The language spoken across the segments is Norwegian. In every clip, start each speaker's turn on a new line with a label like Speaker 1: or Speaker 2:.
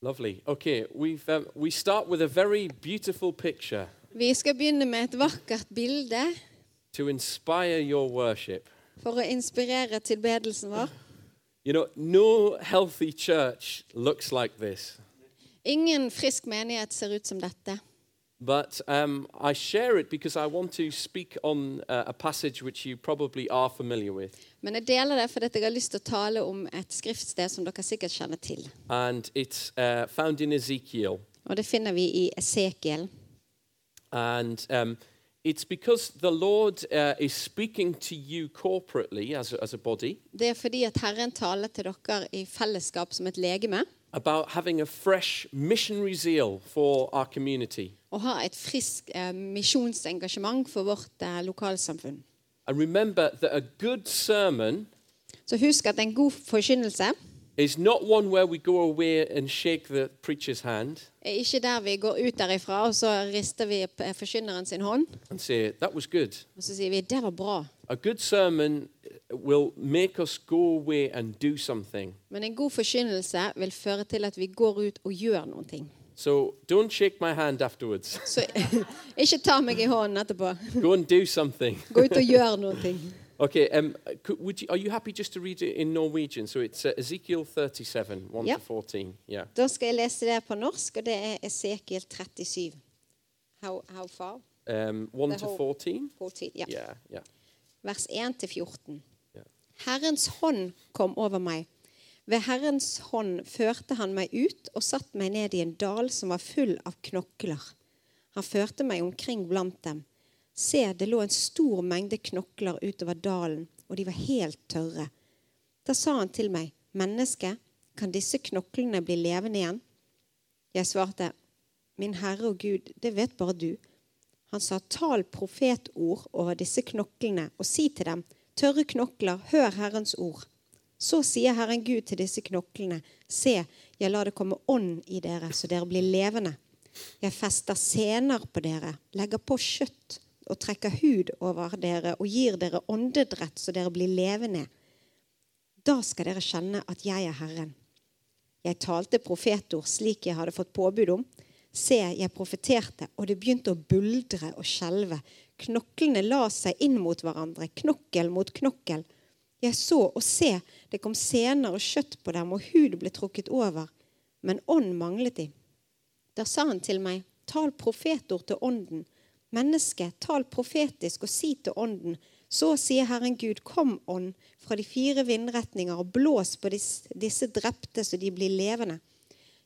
Speaker 1: Lovely. Okay, we've, um, we start with a very beautiful picture
Speaker 2: Vi skal begynne med et vakkert bilde
Speaker 1: to inspire your worship.
Speaker 2: for å inspirere tilbedelsen vår.
Speaker 1: You know, no healthy church looks like this,
Speaker 2: Ingen frisk menighet ser ut som dette.
Speaker 1: but um, I share it because I want to speak on uh, a passage which you probably are familiar with.
Speaker 2: Men jeg deler det fordi at jeg har lyst til å tale om et skriftsted som dere sikkert kjenner til.
Speaker 1: and it's uh, found in Ezekiel.
Speaker 2: Og det finner vi i Esekiel.
Speaker 1: And um, it's because the Lord uh, is speaking to you corporately as a, as a body
Speaker 2: Det er fordi at Herren taler til dere i fellesskap som et legeme
Speaker 1: about having a fresh missionary zeal for our community.
Speaker 2: og har et friskt eh, misjonsengasjement for vårt eh, lokalsamfunn.
Speaker 1: And remember that a good sermon
Speaker 2: Så husk at en god forkynnelse
Speaker 1: is not one where we go away and shake the preacher's hand
Speaker 2: er ikke der vi går ut derifra og så rister vi på forkynneren sin hånd
Speaker 1: and say, that was good.
Speaker 2: og så sier vi 'det var bra'.
Speaker 1: A good sermon will make us go away and do something.
Speaker 2: Men en god forkynnelse vil føre til at vi går ut og gjør noen ting.
Speaker 1: So don't shake my hand afterwards.
Speaker 2: Så ikke ta meg i hånden etterpå.
Speaker 1: go and do something.
Speaker 2: Gå ut og gjør noen ting.
Speaker 1: Okay, um, could, would you, are you happy just to read it in Norwegian? So it's uh, Ezekiel 37, 1
Speaker 2: Yeah.
Speaker 1: to 14. Yeah.
Speaker 2: Da skal jeg lese det på norsk, og det er Esekiel 37. How, how far?
Speaker 1: Um, 1
Speaker 2: The
Speaker 1: to
Speaker 2: whole-
Speaker 1: 14?
Speaker 2: 14, ja.
Speaker 1: Yeah, yeah.
Speaker 2: vers 1-14.
Speaker 1: Ja.
Speaker 2: Herrens hånd kom over meg. Ved Herrens hånd førte han meg ut og satt meg ned i en dal som var full av knokler. Han førte meg omkring blant dem. Se, det lå en stor mengde knokler utover dalen, og de var helt tørre. Da sa han til meg, menneske, kan disse knoklene bli levende igjen? Jeg svarte, min Herre og Gud, det vet bare du. Han sa, tal profetord over disse knoklene, og si til dem, tørre knokler, hør Herrens ord. Så sier Herren Gud til disse knoklene, se, jeg lar det komme ånd i dere, så dere blir levende. Jeg fester sener på dere, legger på kjøtt og trekker hud over dere og gir dere åndedrett, så dere blir levende. Da skal dere kjenne at jeg er Herren. Jeg talte profetord slik jeg hadde fått påbud om. Se, jeg profeterte, og det begynte å buldre og skjelve. Knoklene la seg inn mot hverandre, knokkel mot knokkel. Jeg så, og se, det kom sener og kjøtt på dem, og hud ble trukket over. Men ånd manglet de. Da sa han til meg, tal profetord til ånden. Menneske, tal profetisk og si til ånden. Så sier Herren Gud, kom ånd fra de fire vindretninger og blås på dis- disse drepte så de blir levende.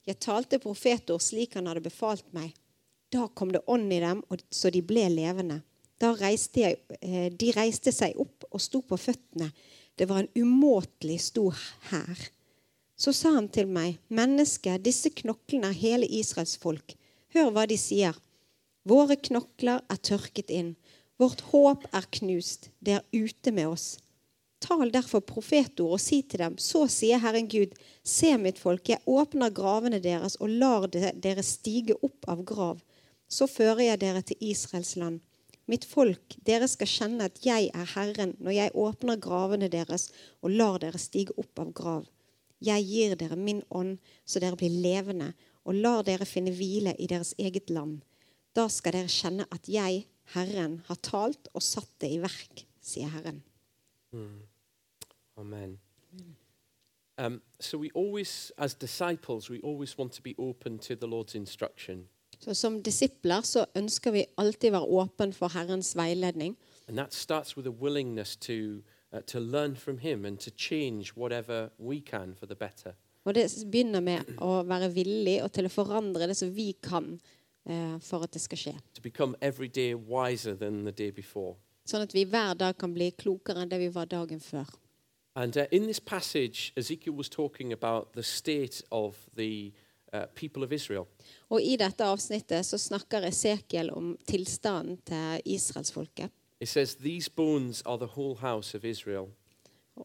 Speaker 2: Jeg talte profetord slik han hadde befalt meg. Da kom det ånd i dem, og så de ble levende. Da reiste jeg, eh, de reiste seg opp og sto på føttene. Det var en umåtelig stor hær. Så sa han til meg, menneske, disse knoklene er hele Israels folk. Hør hva de sier. Våre knokler er tørket inn. Vårt håp er knust. Det er ute med oss. Tal derfor profetord og si til dem, så sier Herren Gud, se mitt folk, jeg åpner gravene deres og lar de- dere stige opp av grav. Så fører jeg dere til Israels land. Mitt folk, dere skal kjenne at jeg er Herren når jeg åpner gravene deres og lar dere stige opp av grav. Jeg gir dere min ånd, så dere blir levende, og lar dere finne hvile i deres eget land. Da skal dere kjenne at jeg, Herren, har talt og satt det i verk, sier Herren.
Speaker 1: Amen. Um, so we always, as disciples, we always want to be open to the Lord's instruction.
Speaker 2: Så Som disipler så ønsker vi alltid være åpen for Herrens veiledning.
Speaker 1: And that starts with a willingness to, uh, to learn from Him and to change whatever we can for the better.
Speaker 2: Og det begynner med å være villig og til å forandre det som vi kan eh, for at det skal skje.
Speaker 1: To become every day wiser than the day before.
Speaker 2: Sånn at vi hver dag kan bli klokere enn det vi var dagen før.
Speaker 1: And uh, in this passage, Ezekiel was talking about the state of the uh, people of Israel.
Speaker 2: Og i dette avsnittet så snakker Esekiel om tilstanden til israelsfolket.
Speaker 1: It says, These bones are the whole house of Israel.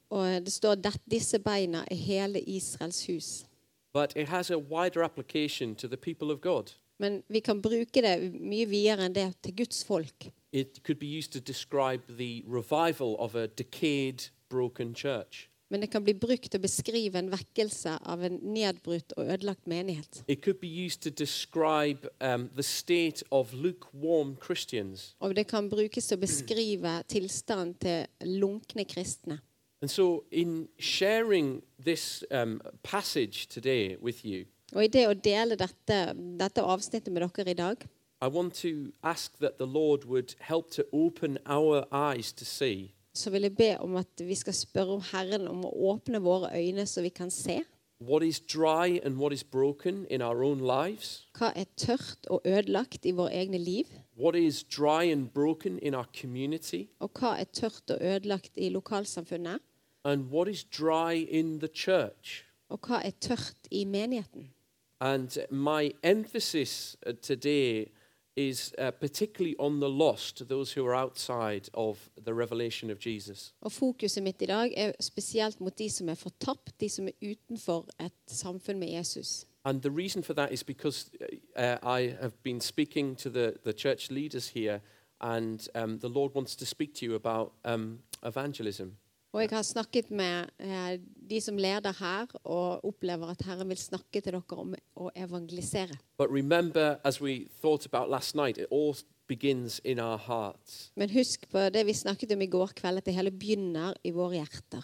Speaker 2: Og det står at disse beina er hele Israels hus.
Speaker 1: But it has a wider application to the people of God.
Speaker 2: Men vi kan bruke det mye videre enn det til Guds folk.
Speaker 1: It could be used to describe the revival of a decayed, broken church.
Speaker 2: men det kan bli brukt til å beskrive en vekkelse av en nedbrutt og ødelagt menighet.
Speaker 1: It could be used to describe um, the state of lukewarm Christians.
Speaker 2: Og det kan brukes til å beskrive tilstanden til lunkne kristne.
Speaker 1: And so, in sharing this um, passage today with you,
Speaker 2: Og i det å dele dette, dette avsnittet med dere i dag,
Speaker 1: I want to ask that the Lord would help to open our eyes to see
Speaker 2: så vil jeg be om at vi skal spørre om Herren om å åpne våre øyne så vi kan se
Speaker 1: what is dry and what is broken in our own lives,
Speaker 2: hva er tørt og ødelagt i våre egne liv,
Speaker 1: what is dry and broken in our community,
Speaker 2: og hva er tørt og ødelagt i lokalsamfunnet,
Speaker 1: and what is dry in the church.
Speaker 2: og hva er tørt i menigheten.
Speaker 1: And my emphasis uh, today is uh, particularly on the lost, those who are outside of the revelation of Jesus.
Speaker 2: Og fokuset mitt i dag er spesielt mot de som er fortapt, de som er utenfor et samfunn med Jesus.
Speaker 1: And the reason for that is because uh, I have been speaking to the, the church leaders here, and um, the Lord wants to speak to you about um, evangelism.
Speaker 2: Og jeg har snakket med eh, de som leder her, og opplever at Herren vil snakke til dere om å evangelisere.
Speaker 1: But remember, as we thought about last night, it all begins in our hearts.
Speaker 2: Men husk på det vi snakket om i går kveld, at det hele begynner i våre hjerter.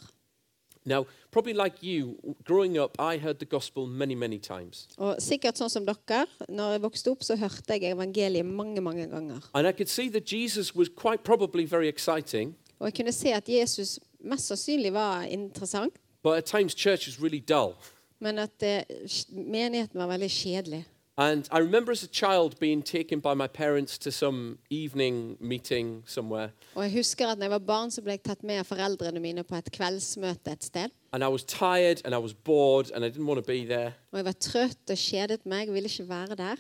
Speaker 1: Now, probably like you, growing up, I heard the gospel many, many times.
Speaker 2: Og sikkert sånn som dere, når jeg vokste opp, så hørte jeg evangeliet mange, mange ganger.
Speaker 1: And I could see that Jesus was quite probably very exciting,
Speaker 2: Og jeg kunne se at Jesus mest sannsynlig var interessant,
Speaker 1: but at times church was really dull.
Speaker 2: men at eh, menigheten var veldig kjedelig.
Speaker 1: And I remember as a child being taken by my parents to some evening meeting somewhere,
Speaker 2: Og jeg husker at når jeg var barn, så ble jeg tatt med av foreldrene mine på et kveldsmøte et sted.
Speaker 1: and I was tired and I was bored and I didn't want to be there.
Speaker 2: Og jeg var trøtt og kjedet meg, ville ikke være der.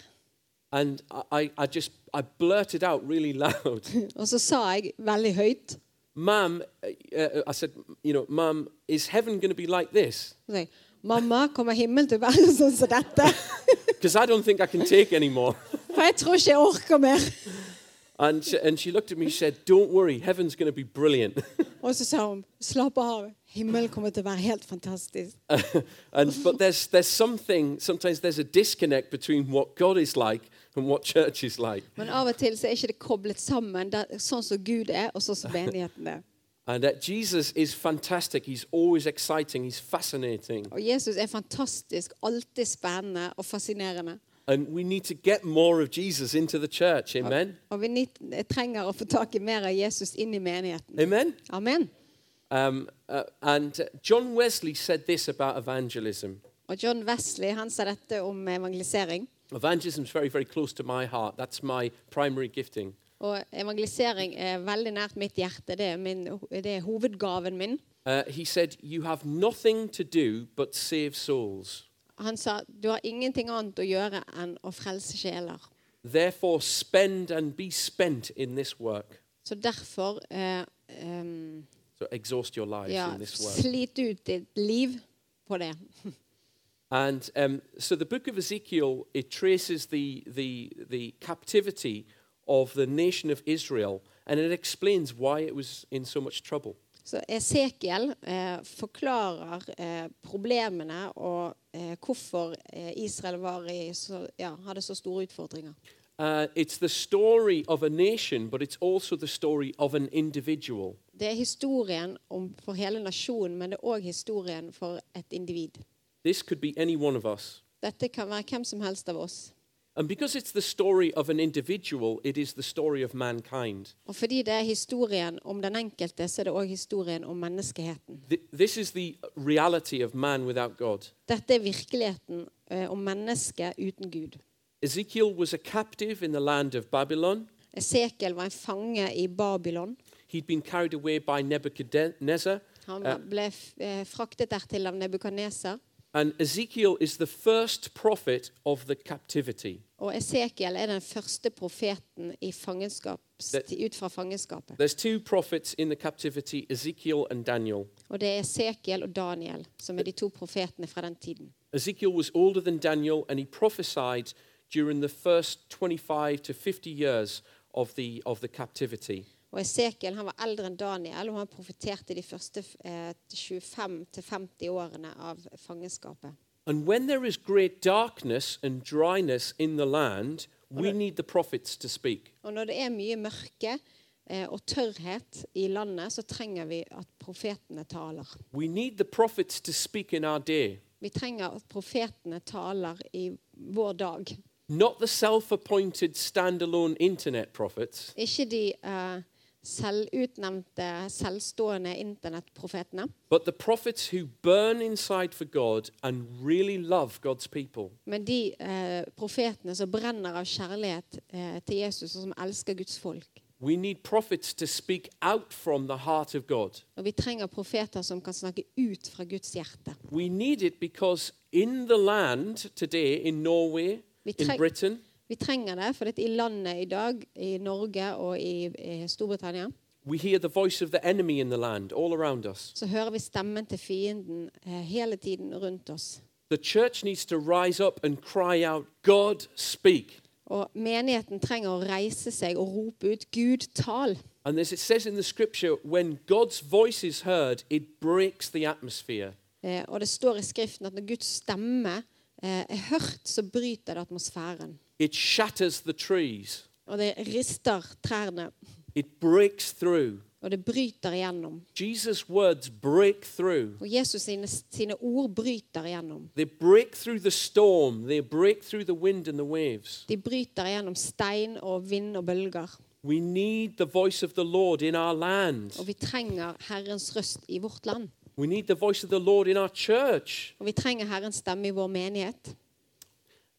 Speaker 1: And I, I, I just I blurted out really loud,
Speaker 2: Og så sa jeg veldig høyt
Speaker 1: "Mum," uh, uh, I said, "You know, Mum, is heaven going to be like this?"
Speaker 2: så sa jeg, Mamma, kommer himmelen til å være sånn som dette?
Speaker 1: Because I don't think I can take anymore.
Speaker 2: For jeg tror ikke jeg orker mer.
Speaker 1: And she, and she looked at me and said, "Don't worry, heaven's going to be brilliant."
Speaker 2: Og så sa hun slapp av, himmelen kommer til å være helt fantastisk.
Speaker 1: and but there's there's something sometimes there's a disconnect between what God is like and what church is like.
Speaker 2: Men av og til så er ikke det koblet sammen, det er sånn som Gud er, og sånn som menigheten er.
Speaker 1: And that Jesus is fantastic. He's always exciting. He's fascinating.
Speaker 2: Og Jesus er fantastisk, alltid spennende og fascinerende.
Speaker 1: And we need to get more of Jesus into the church. Amen.
Speaker 2: Og vi nit- trenger å få tak i mer av Jesus inn i menigheten.
Speaker 1: Amen.
Speaker 2: Amen.
Speaker 1: Um, uh, and uh, John Wesley said this about evangelism.
Speaker 2: Og John Wesley han sa dette om evangelisering.
Speaker 1: Evangelism is very, very close to my heart. That's my primary gifting.
Speaker 2: Og evangelisering er veldig nært mitt hjerte. Det er, min, det er hovedgaven min.
Speaker 1: Uh, he said, "You have nothing to do but save souls.
Speaker 2: Han sa du har ingenting annet å gjøre enn å frelse sjeler.
Speaker 1: Therefore, spend and be spent in this work.
Speaker 2: Så derfor eh, em,
Speaker 1: So exhaust your lives
Speaker 2: ja,
Speaker 1: in this work."
Speaker 2: slit ut ditt liv på det.
Speaker 1: And um, so the book of Ezekiel, it traces the, the, the captivity of the nation of Israel and it explains why it was in so much trouble.
Speaker 2: Så Esekiel eh, forklarer eh, problemene og eh, hvorfor eh, Israel var i så, ja, hadde så store utfordringer.
Speaker 1: Uh, it's the story of a nation, but it's also the story of an individual.
Speaker 2: Det er historien om, for hele nasjonen, men det er òg historien for et individ.
Speaker 1: This could be any one of us.
Speaker 2: Dette kan være hvem som helst av oss.
Speaker 1: And because it's the story of an individual, it is the story of mankind.
Speaker 2: Og fordi det er historien om den enkelte, så er det òg historien om menneskeheten.
Speaker 1: Th- this is the reality of man without God.
Speaker 2: Dette er virkeligheten eh, om mennesket uten Gud.
Speaker 1: Ezekiel was a captive in the land of Babylon.
Speaker 2: Esekiel var en fange i Babylon.
Speaker 1: He'd been carried away by Nebuchadnezzar.
Speaker 2: Han
Speaker 1: Ja.
Speaker 2: ble f- eh, fraktet dertil av Nebukadneser.
Speaker 1: And Ezekiel is the first prophet of the captivity.
Speaker 2: Og Esekiel er den første profeten i fangenskaps,
Speaker 1: Det-
Speaker 2: ut fra fangenskapet.
Speaker 1: There's two prophets in the captivity Ezekiel and Daniel.
Speaker 2: Og det er Esekiel og Daniel som er de to profetene fra den tiden.
Speaker 1: Ezekiel was older than Daniel, and he prophesied during the first 25 to 50 years of the, of the captivity.
Speaker 2: Og Esekiel han var eldre enn Daniel, og han profeterte de første eh, 25-50 årene av fangenskapet.
Speaker 1: And when there is great darkness and dryness in the land, we need the prophets to speak.
Speaker 2: Og når det er mye mørke eh, og tørrhet i landet, så trenger vi at profetene taler.
Speaker 1: We need the prophets to speak in our day,
Speaker 2: Vi trenger at profetene taler i vår dag.
Speaker 1: not the self appointed standalone internet prophets,
Speaker 2: Ikke de eh, selvutnevnte, selvstående internettprofetene,
Speaker 1: but the prophets who burn inside for God and really love God's people.
Speaker 2: men de eh, profetene som brenner av kjærlighet eh, til Jesus, og som elsker Guds folk.
Speaker 1: We need prophets to speak out from the heart of God.
Speaker 2: Og vi trenger profeter som kan snakke ut fra Guds hjerte.
Speaker 1: We need it because in the land today, in Norway,
Speaker 2: We
Speaker 1: in
Speaker 2: take-
Speaker 1: Britain,
Speaker 2: Vi trenger det, for i landet i dag, i Norge og i, i Storbritannia,
Speaker 1: we hear the voice of the enemy in the land all around us.
Speaker 2: så hører vi stemmen til fienden eh, hele tiden rundt oss.
Speaker 1: The church needs to rise up and cry out, God, speak.
Speaker 2: Og menigheten trenger å reise seg og rope ut 'Gud, tal'.
Speaker 1: And as it says in the scripture, when God's voice is heard, it breaks the atmosphere.
Speaker 2: Eh, og det står i Skriften at når Guds stemme eh, er hørt, så bryter det atmosfæren.
Speaker 1: It shatters the trees.
Speaker 2: Og det rister trærne,
Speaker 1: It breaks through.
Speaker 2: og det bryter igjennom.
Speaker 1: Jesus' words break through.
Speaker 2: Og Jesus sine, sine ord bryter igjennom.
Speaker 1: They break through the storm. They break through the wind and the waves.
Speaker 2: De bryter igjennom stein og vind og bølger.
Speaker 1: We need the voice of the Lord in our
Speaker 2: Og
Speaker 1: land.
Speaker 2: vi trenger Herrens røst i vårt land.
Speaker 1: We need the voice of the Lord in our church.
Speaker 2: Og vi trenger Herrens stemme i vår menighet.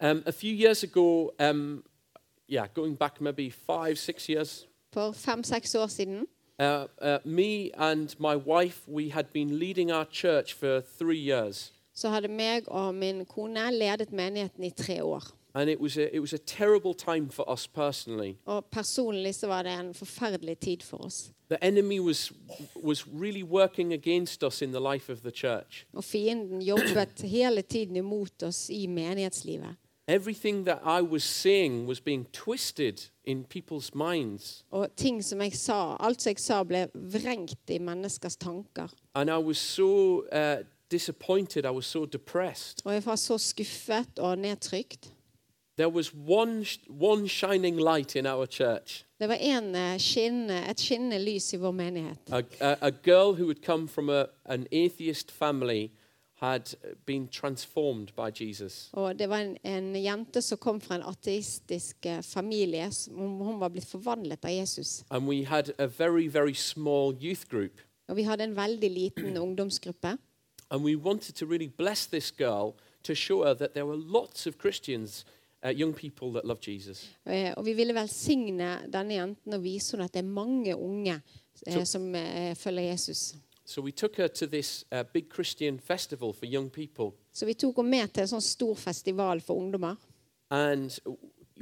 Speaker 1: Um, a few years ago, um, yeah, going back maybe five, six years,
Speaker 2: For fem-seks år siden
Speaker 1: uh, uh, me and my wife, we had been leading our church for three years.
Speaker 2: så hadde meg og min kone ledet menigheten i tre år.
Speaker 1: And it was, a, it was a terrible time for us personally.
Speaker 2: Og personlig så var det en forferdelig tid for oss.
Speaker 1: The enemy was, was really working against us in the life of the church.
Speaker 2: Og fienden jobbet hele tiden imot oss i menighetslivet.
Speaker 1: Everything that I was saying was being twisted in people's minds.
Speaker 2: Og ting som jeg sa, alt som jeg sa, ble vrengt i menneskers tanker.
Speaker 1: And I was so uh, disappointed, I was so depressed.
Speaker 2: Og jeg var så skuffet og nedtrykt.
Speaker 1: There was one, sh- one shining light in our church
Speaker 2: Det var en, eh, skinne, et skinnende lys i vår menighet.
Speaker 1: a, a, a girl who had come from a, an atheist family had been transformed by Jesus.
Speaker 2: Og det var en, en jente som kom fra en ateistisk eh, familie. som- Hun var blitt forvandlet av Jesus.
Speaker 1: And we had a very, very small youth group.
Speaker 2: Og vi hadde en veldig liten ungdomsgruppe.
Speaker 1: And we wanted to really bless this girl to show her that there were lots of Christians, uh, young people that love Jesus.
Speaker 2: Eh, Og vi ville velsigne denne jenten og vise henne at det er mange unge eh, som eh, følger Jesus.
Speaker 1: So we took her to this uh, big Christian festival for young people.
Speaker 2: Så vi tok henne med til en sånn stor festival for ungdommer.
Speaker 1: And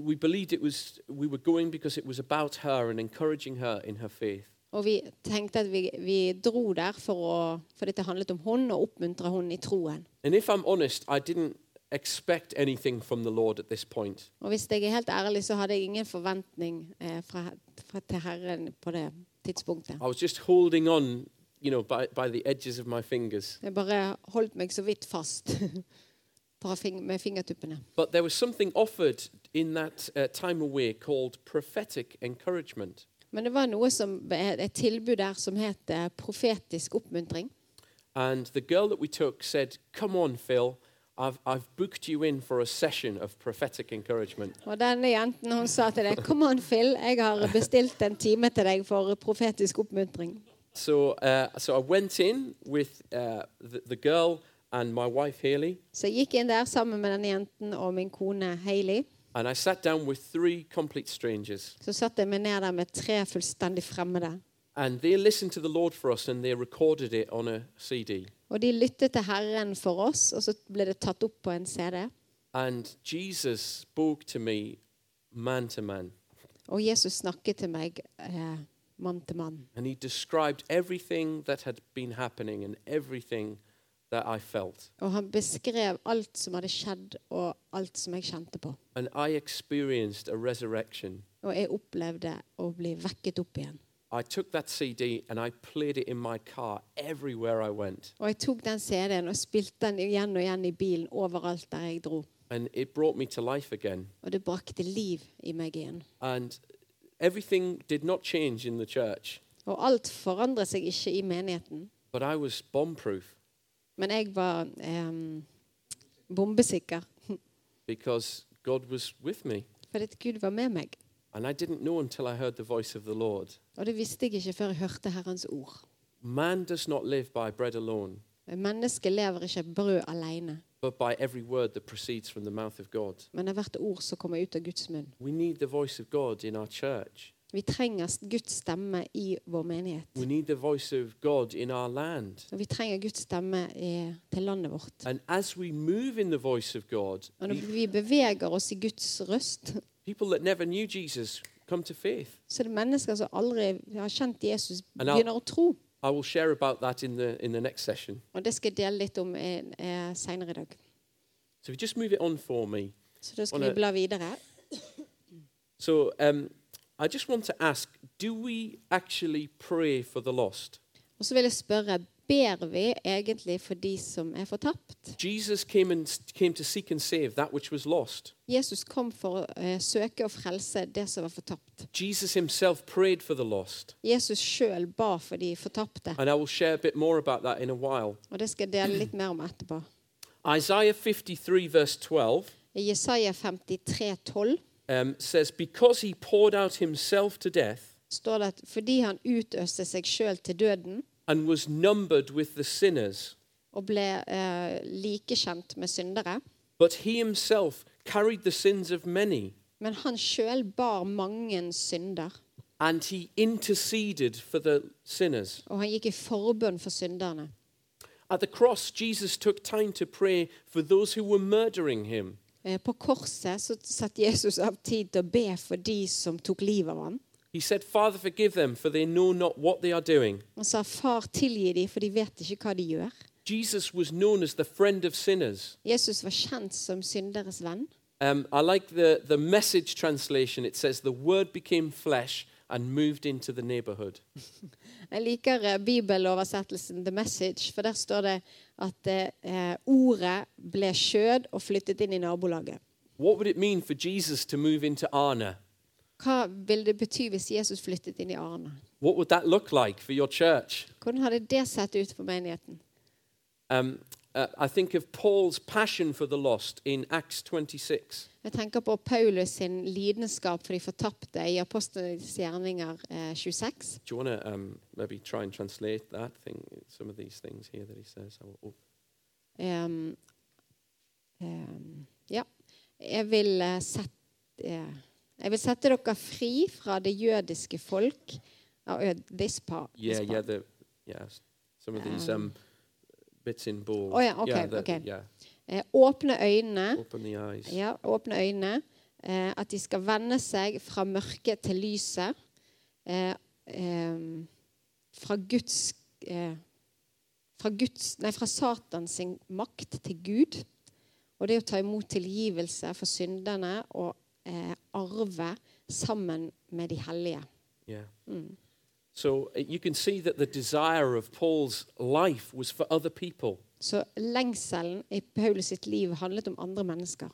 Speaker 1: we believed it was, we were going because it was about her and encouraging her in her faith.
Speaker 2: Og vi tenkte at vi, vi dro der for å For dette handlet om hun, og oppmuntre hun i troen.
Speaker 1: And if I'm honest, I didn't expect anything from the Lord at this point.
Speaker 2: Og hvis jeg er helt ærlig, så hadde jeg ingen forventning eh, fra, fra til Herren på det tidspunktet.
Speaker 1: I was just holding on, you know, by, by the edges of my fingers.
Speaker 2: Jeg bare holdt meg så vidt fast fra fing- med fingertuppene.
Speaker 1: But there was something offered in that uh, time away called prophetic encouragement.
Speaker 2: Men det var noe som, et tilbud der som het eh, profetisk oppmuntring.
Speaker 1: And the girl that we took said, Come on, Phil, I've, I've booked you in for a session of prophetic encouragement.
Speaker 2: Og denne jenten hun sa til deg Kom an, Phil, jeg har bestilt en time til deg for profetisk oppmuntring.
Speaker 1: So, uh, so I went in with uh, the, the girl and my wife, Haley,
Speaker 2: Så jeg gikk inn der sammen med denne jenten og min kone Hailey.
Speaker 1: and I sat down with three complete strangers.
Speaker 2: Så satte jeg meg ned der med tre fullstendig fremmede.
Speaker 1: And they listened to the Lord for us and they recorded it on a CD.
Speaker 2: Og de lyttet til Herren for oss, og så ble det tatt opp på en CD.
Speaker 1: And Jesus spoke to me man to man.
Speaker 2: Og Jesus snakket til meg eh, mann til mann.
Speaker 1: And he described everything that had been happening and everything that I felt.
Speaker 2: Og han beskrev alt som hadde skjedd, og alt som jeg kjente på.
Speaker 1: And I experienced a resurrection.
Speaker 2: Og jeg opplevde å bli vekket opp igjen.
Speaker 1: I took that CD and I played it in my car everywhere I went.
Speaker 2: Og jeg tok den CD-en og spilte den igjen og igjen i bilen overalt der jeg dro.
Speaker 1: And it brought me to life again.
Speaker 2: Og det brakte liv i meg igjen.
Speaker 1: And everything did not change in the church,
Speaker 2: Og alt forandret seg ikke i menigheten.
Speaker 1: but I was bomb proof
Speaker 2: Men jeg var em, bombesikker.
Speaker 1: because God was with me.
Speaker 2: Fordi at Gud var med meg.
Speaker 1: And I didn't know until I heard the voice of the Lord.
Speaker 2: Og det visste jeg ikke før jeg hørte Herrens ord.
Speaker 1: Man does not live by bread alone,
Speaker 2: Mennesket lever ikke av brød alene,
Speaker 1: but by every word that proceeds from the mouth of God.
Speaker 2: men av hvert ord som kommer ut av Guds munn.
Speaker 1: We need the voice of God in our church.
Speaker 2: Vi trenger Guds stemme i vår menighet.
Speaker 1: We need the voice of God in our land.
Speaker 2: Og vi trenger Guds stemme i, til landet vårt.
Speaker 1: And as we move in the voice of God,
Speaker 2: Og når
Speaker 1: the
Speaker 2: vi beveger oss i Guds røst,
Speaker 1: people that never knew Jesus come to faith.
Speaker 2: så er det mennesker som aldri har kjent Jesus,
Speaker 1: Men da-
Speaker 2: begynner å tro.
Speaker 1: I will share about that in the, in the next session.
Speaker 2: Og det skal jeg dele litt om eh, seinere i dag.
Speaker 1: So if you just move it on for me.
Speaker 2: Så da skal
Speaker 1: Og
Speaker 2: vi
Speaker 1: det-
Speaker 2: bla videre.
Speaker 1: So um, I just want to ask do we actually pray for the lost?
Speaker 2: Og så vil jeg spørre Ber vi egentlig for de som er fortapt?
Speaker 1: Jesus came, and, came to seek and save that which was lost.
Speaker 2: Jesus kom for å eh, søke og frelse det som var fortapt.
Speaker 1: Jesus himself prayed for the lost.
Speaker 2: Jesus sjøl ba for de fortapte.
Speaker 1: And I will share a bit more about that in a while.
Speaker 2: Og det skal jeg dele litt mer om etterpå.
Speaker 1: Isaiah 53, verse 12,
Speaker 2: I Jesaja 53, 12
Speaker 1: um, says, Because he poured out himself to death
Speaker 2: står det at fordi han utøste seg sjøl til døden
Speaker 1: and was numbered with the sinners,
Speaker 2: og ble eh, likekjent med syndere,
Speaker 1: but he himself carried the sins of many,
Speaker 2: men han sjøl bar mange synder.
Speaker 1: and he interceded for the sinners.
Speaker 2: Og han gikk i forbønn for synderne.
Speaker 1: At the cross, Jesus took time to pray for those who were murdering him.
Speaker 2: Eh, På korset så satte Jesus av tid til å be for de som tok livet av ham.
Speaker 1: He said, Father, forgive them, for they know not what they are doing.
Speaker 2: Han sa, 'Far, tilgi dem, for de vet ikke hva de gjør'.
Speaker 1: Jesus was known as the friend of sinners.
Speaker 2: Jesus var kjent som synderes venn.
Speaker 1: Um, I like the, the message translation. It says, The word became flesh and moved into the neighborhood.
Speaker 2: Jeg liker eh, bibeloversettelsen The Message, for der står det at eh, ordet ble skjød og flyttet inn i nabolaget.
Speaker 1: What would it mean for Jesus to move into Arna?
Speaker 2: Hva ville det bety hvis Jesus flyttet inn i Arne?
Speaker 1: What would that look like for your church?
Speaker 2: Hvordan hadde det sett ut for menigheten?
Speaker 1: Um, uh, I think of Paul's passion for the lost in Acts 26.
Speaker 2: Jeg tenker på Paulus sin lidenskap for de fortapte i Apostlenes gjerninger eh, 26.
Speaker 1: Do you want to um, maybe try and translate that thing, some of these things here that he says? I will op-
Speaker 2: Ehm, ehm, ja. Jeg vil, eh, sette, eh, jeg vil sette dere fri fra det jødiske folk av ø- this part.
Speaker 1: Yeah,
Speaker 2: this
Speaker 1: yeah,
Speaker 2: part.
Speaker 1: the, yeah, s- some of these um, bits in bold.
Speaker 2: Oh, yeah, okay,
Speaker 1: the-
Speaker 2: okay.
Speaker 1: Yeah,
Speaker 2: Eh, Åpne øynene.
Speaker 1: open the eyes.
Speaker 2: Ja, åpne øynene. Eh, at de skal vende seg fra mørket til lyset. Eh, ehm, fra Guds eh, fra, Guds, nei, fra Satans sin makt til Gud. Og det å ta imot tilgivelse for synderne og eh, arve sammen med de hellige. Mm.
Speaker 1: Yeah. So uh, you can see that the desire of Paul's life was for other people.
Speaker 2: Så lengselen i Paulus sitt liv handlet om andre mennesker.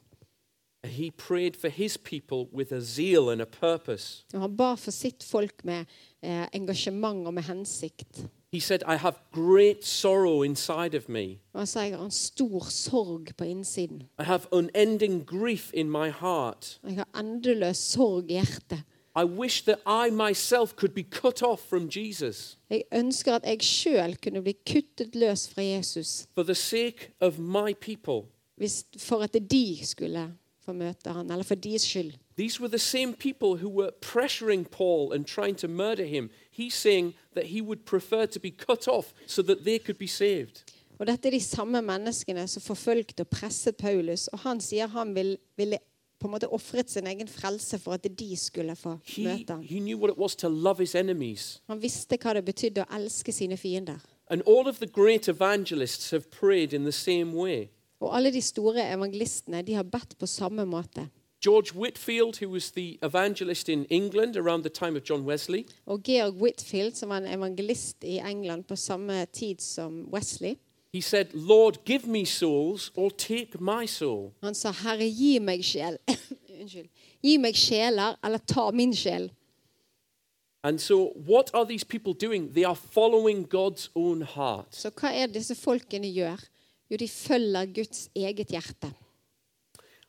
Speaker 1: He prayed for his people with a zeal and a purpose.
Speaker 2: Og han ba for sitt folk med eh, engasjement og med hensikt.
Speaker 1: He said, I have great sorrow inside of me.
Speaker 2: Og han sa jeg har en stor sorg på innsiden.
Speaker 1: I have unending grief in my heart.
Speaker 2: Jeg har endeløs sorg i hjertet.
Speaker 1: I wish that I myself could be cut off from Jesus
Speaker 2: Jeg ønsker at jeg sjøl kunne bli kuttet løs fra Jesus
Speaker 1: for the sake of my people.
Speaker 2: hvis, for at de skulle få møte han, eller for deres skyld.
Speaker 1: These were the same people who were pressuring Paul and trying to murder him. He's saying that he would prefer to be cut off so that they could be saved.
Speaker 2: Og dette er de samme menneskene som forfulgte og presset Paulus, og han sier han vil, ville på en måte ofret sin egen frelse for at de skulle få
Speaker 1: He,
Speaker 2: møte han.
Speaker 1: he knew what it was to love his enemies.
Speaker 2: Han visste hva det betydde å elske sine fiender.
Speaker 1: And all of the great evangelists have prayed in the same way.
Speaker 2: Og alle de store evangelistene de har bedt på samme måte.
Speaker 1: George Whitfield, who was the evangelist in England around the time of John Wesley,
Speaker 2: Og Georg Whitfield, som var en evangelist i England på samme tid som Wesley,
Speaker 1: he said, Lord, give me souls or take my soul.
Speaker 2: han sa 'Herre, gi meg sjel'. Unnskyld. Gi meg sjeler, eller ta min sjel.
Speaker 1: And so, what are these people doing? They are following God's own heart.
Speaker 2: Så hva er det disse folkene gjør? Jo, de følger Guds eget hjerte.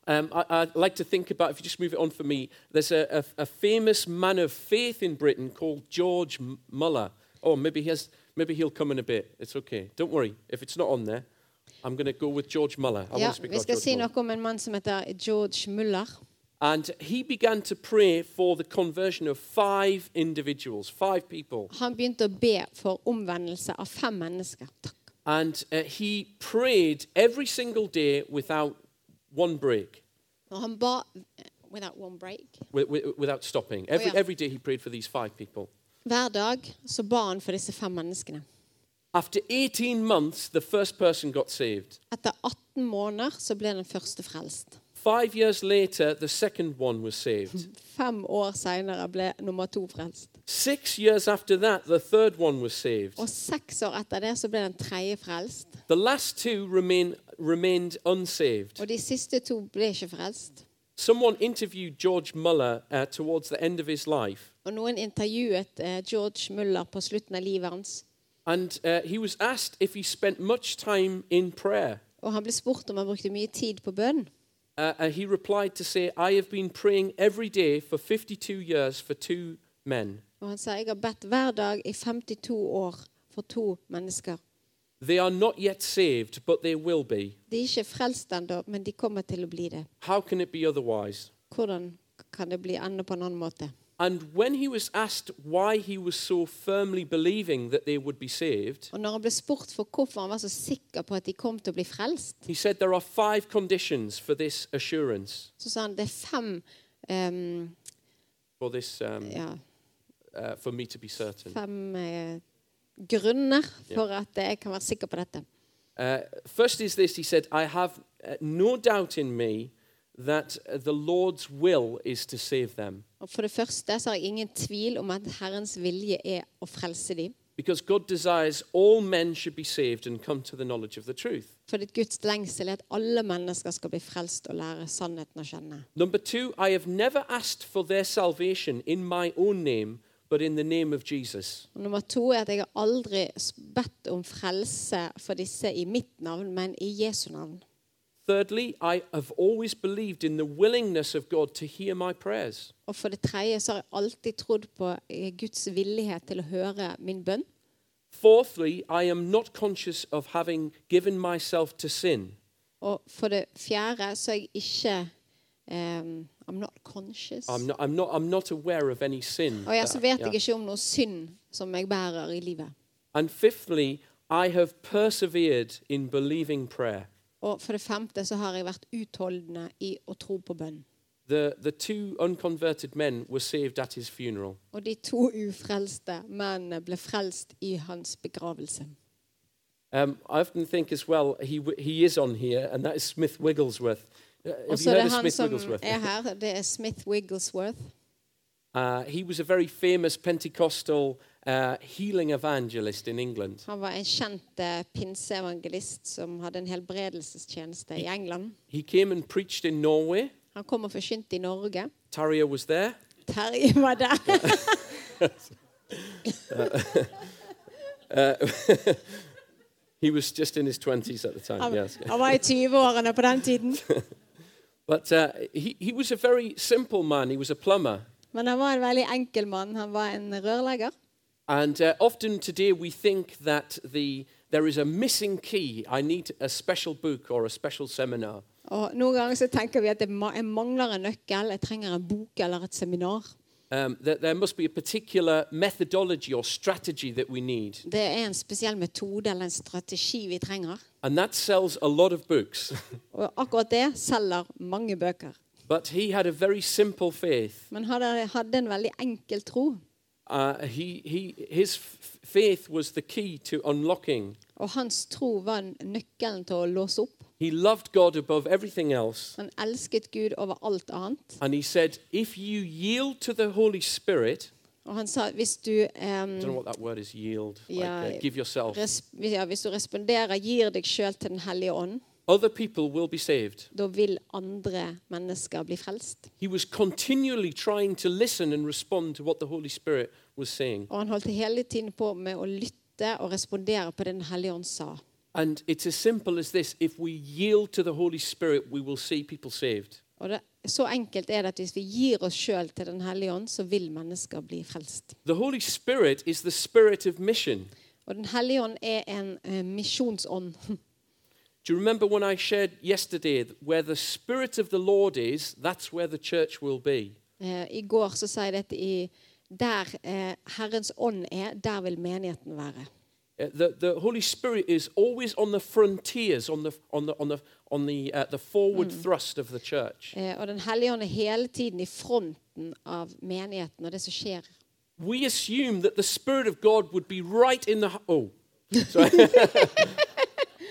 Speaker 1: Um, I, I'd like to think about, if you just move it on for me, there's a, a, a famous man of faith in Britain called George M- Muller. Oh, maybe, he has, maybe he'll come in a bit. It's okay. Don't worry. If it's not on there, I'm going to go with George Muller. I
Speaker 2: Ja,
Speaker 1: want to speak
Speaker 2: vi
Speaker 1: about
Speaker 2: skal
Speaker 1: George
Speaker 2: si
Speaker 1: Muller.
Speaker 2: noe om en mann som heter George Muller.
Speaker 1: And he began to pray for the conversion of five individuals, five people.
Speaker 2: Han begynte å be for omvendelse av fem mennesker. Takk.
Speaker 1: And uh, he prayed every single day without one break,
Speaker 2: Og han ba eh, without one break.
Speaker 1: wi- wi- without stopping. Every,
Speaker 2: yeah.
Speaker 1: every day he prayed for these five people.
Speaker 2: Hver dag så ba han for disse fem menneskene.
Speaker 1: After 18 months, the first person got saved.
Speaker 2: Etter 18 måneder så ble den første frelst.
Speaker 1: Five years later, the second one was saved.
Speaker 2: Fem år seinere ble nummer to frelst.
Speaker 1: Six years after that, the third one was saved.
Speaker 2: Og seks år etter det så ble den tredje frelst.
Speaker 1: The last two remain, remained unsaved.
Speaker 2: Og de siste to ble ikke frelst.
Speaker 1: Someone interviewed George Muller uh, towards the end of his life.
Speaker 2: Og noen intervjuet eh, George Muller på slutten av livet hans.
Speaker 1: And uh, he was asked if he spent much time in prayer.
Speaker 2: Og han ble spurt om han brukte mye tid på bønn.
Speaker 1: Uh, and he replied to say, I have been praying every day for 52 years for two men.
Speaker 2: Og han sa jeg har bedt hver dag i 52 år for to mennesker.
Speaker 1: They are not yet saved, but they will be.
Speaker 2: De er ikke frelst ennå, men de kommer til å bli det.
Speaker 1: How can it be otherwise?
Speaker 2: Hvordan kan det bli enda på en annen måte?
Speaker 1: And when he was asked why he was so firmly believing that they would be saved,
Speaker 2: Og når han ble spurt for hvorfor han var så sikker på at de kom til å bli frelst,
Speaker 1: he said there are five conditions for this assurance,
Speaker 2: så sa han det er fem ehm,
Speaker 1: for, this, um,
Speaker 2: ja,
Speaker 1: uh, for me to be certain.
Speaker 2: fem eh, grunner for at jeg kan være sikker på dette.
Speaker 1: Uh, first is this he said, I have uh, no doubt in me that uh, the Lord's will is to save them
Speaker 2: Og for det første så har jeg ingen tvil om at Herrens vilje er å frelse dem.
Speaker 1: because God desires all men should be saved and come to the knowledge of the truth.
Speaker 2: Fordi at Guds lengsel er at alle mennesker skal bli frelst og lære sannheten å kjenne.
Speaker 1: Number two, I have never asked for their salvation in my own name, but in the name of Jesus.
Speaker 2: Og nummer to er at jeg har aldri s- bedt om frelse for disse i mitt navn, men i Jesu navn.
Speaker 1: Thirdly, I have always believed in the willingness of God to hear my prayers.
Speaker 2: Og for det tredje så har jeg alltid trodd på eh, Guds villighet til å høre min bønn.
Speaker 1: Fourthly, I am not conscious of having given myself to sin.
Speaker 2: Og for det fjerde så er jeg ikke ehm, I'm not conscious.
Speaker 1: I'm not, I'm not, I'm not aware of any sin.
Speaker 2: og ja, så
Speaker 1: that-
Speaker 2: vet
Speaker 1: yeah.
Speaker 2: jeg ikke om noe synd som jeg bærer i livet.
Speaker 1: And fifthly, I have persevered in believing prayer.
Speaker 2: Og for det femte så har jeg vært utholdende i å tro på bønn.
Speaker 1: The, the two unconverted men were saved at his funeral.
Speaker 2: Og de to ufrelste mennene ble frelst i hans begravelse.
Speaker 1: Um, I often think as well, he, w- he is on here, and that is Smith Wigglesworth. Uh,
Speaker 2: Og
Speaker 1: Have you
Speaker 2: så er
Speaker 1: heard
Speaker 2: det
Speaker 1: of
Speaker 2: han
Speaker 1: Smith
Speaker 2: som
Speaker 1: Wigglesworth?
Speaker 2: er her, det er Smith Wigglesworth.
Speaker 1: Uh, he was a very famous Pentecostal uh, healing evangelist in England.
Speaker 2: Han var en kjent eh, pinseevangelist som hadde en helbredelsestjeneste i England.
Speaker 1: He came and preached in Norway.
Speaker 2: Han kom og forkynte i Norge.
Speaker 1: Tarrier was there.
Speaker 2: Terje var der.
Speaker 1: He was just in his 20s at the time,
Speaker 2: Han,
Speaker 1: yes.
Speaker 2: han var i 20-årene på den tiden.
Speaker 1: But uh, he, he was a very simple man. He was a plumber.
Speaker 2: Men han var en veldig enkel mann. Han var en rørlegger.
Speaker 1: And uh, often today we think that the, there is a missing key. I need a special book or a special seminar.
Speaker 2: Og noen ganger så tenker vi at det ma- jeg mangler en nøkkel, jeg trenger en bok eller et seminar.
Speaker 1: Um, that there must be a particular methodology or strategy that we need.
Speaker 2: Det er en spesiell metode eller en strategi vi trenger.
Speaker 1: And that sells a lot of books.
Speaker 2: Og akkurat det selger mange bøker.
Speaker 1: but he had a very simple faith.
Speaker 2: Men han hadde hadde en veldig enkel tro.
Speaker 1: Uh, he, he, his f- faith was the key to unlocking.
Speaker 2: Og hans tro var nøkkelen til å låse opp.
Speaker 1: He loved God above everything else.
Speaker 2: Han elsket Gud over alt annet.
Speaker 1: And he said, if you yield to the Holy Spirit,
Speaker 2: Og han sa hvis du, em,
Speaker 1: I don't know what that word is yield, like,
Speaker 2: Yeah,
Speaker 1: uh,
Speaker 2: it-
Speaker 1: give yourself,
Speaker 2: res, ja, hvis du responderer, gir deg sjøl til Den hellige ånd,
Speaker 1: other people will be saved.
Speaker 2: da vil andre mennesker bli frelst.
Speaker 1: He was continually trying to listen and respond to what the Holy Spirit was saying.
Speaker 2: Og han holdt hele tiden på med å lytte og respondere på det Den hellige ånd sa.
Speaker 1: And it's as simple as this if we yield to the Holy Spirit, we will see people saved.
Speaker 2: Og det, Så enkelt er det at hvis vi gir oss sjøl til Den hellige ånd, så vil mennesker bli frelst.
Speaker 1: The Holy Spirit is the spirit of mission.
Speaker 2: Og Den hellige ånd er en eh, misjonsånd.
Speaker 1: Do you remember when I shared yesterday that where the Spirit of the Lord is, that's where the church will be?
Speaker 2: Eh, I går så sa jeg dette i Der eh, Herrens ånd er, der vil menigheten være.
Speaker 1: Uh, The, the Holy Spirit is always on the frontiers, on the, on the, on the, on the, uh, the forward thrust of the church.
Speaker 2: Eh, og Den hellige ånd er hele tiden i fronten av menigheten og det som skjer.
Speaker 1: We assume that the Spirit of God would be right in the. h- Oh, sorry.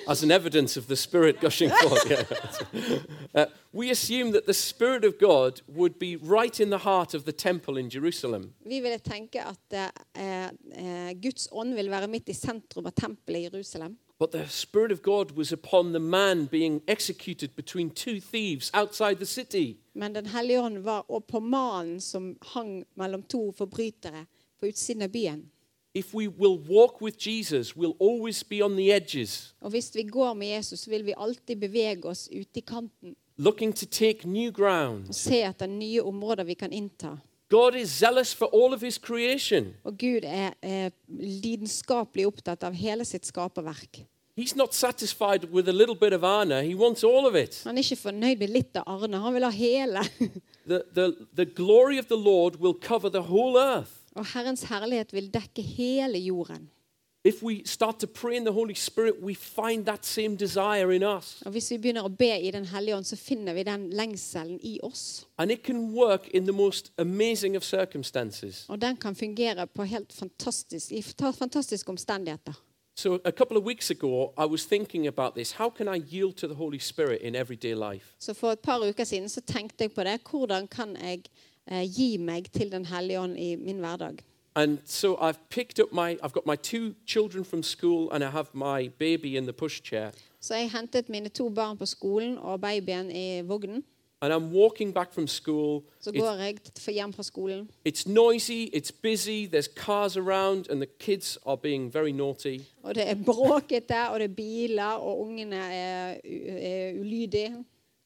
Speaker 1: As an evidence of the Spirit gushing forth. yeah. Uh, we assume that the Spirit of God would be right in the heart of the temple in Jerusalem.
Speaker 2: Vi ville tenke at eh, eh, Guds ånd vil være midt i sentrum av tempelet i Jerusalem.
Speaker 1: But the Spirit of God was upon the man being executed between two thieves outside the city.
Speaker 2: Men Den hellige ånd var og på mannen som hang mellom to forbrytere på utsiden av byen.
Speaker 1: If we will walk with Jesus, we'll always be on the edges,
Speaker 2: Og hvis vi går med Jesus, så vil vi alltid bevege oss ute i kanten
Speaker 1: looking to take new
Speaker 2: og
Speaker 1: ground.
Speaker 2: se etter nye områder vi kan innta.
Speaker 1: God is zealous for all of his creation.
Speaker 2: Og Gud er eh, lidenskapelig opptatt av hele sitt skaperverk.
Speaker 1: He's not satisfied with a little bit of honor, he wants all of it.
Speaker 2: Han er ikke fornøyd med litt av Arne, han vil ha hele.
Speaker 1: The, the, the glory of the Lord will cover the whole earth.
Speaker 2: Og Herrens herlighet vil dekke hele jorden.
Speaker 1: If we start to pray in the Holy Spirit, we find that same desire in us.
Speaker 2: Og Hvis vi begynner å be i Den hellige ånd, så finner vi den lengselen i oss.
Speaker 1: And it can work in the most amazing of circumstances.
Speaker 2: Og den kan fungere på helt fantastisk, i fanta- fantastiske omstendigheter.
Speaker 1: So, a couple of weeks ago, I was thinking about this. How can I yield to the Holy Spirit in everyday life?
Speaker 2: Så for et par uker siden så tenkte jeg på det. Hvordan kan jeg eh, gi meg til Den hellige ånd i min hverdag?
Speaker 1: And so I've picked up my, I've got my two children from school and I have my baby in the pushchair.
Speaker 2: Så jeg hentet mine to barn på skolen og babyen i vognen.
Speaker 1: And I'm walking back from school.
Speaker 2: Så
Speaker 1: It's,
Speaker 2: går jeg t- for hjem fra skolen.
Speaker 1: it's noisy, it's busy, there's cars around, and the kids are being very naughty.
Speaker 2: Og det er bråkete, og det er biler, og ungene er, u- er ulydige.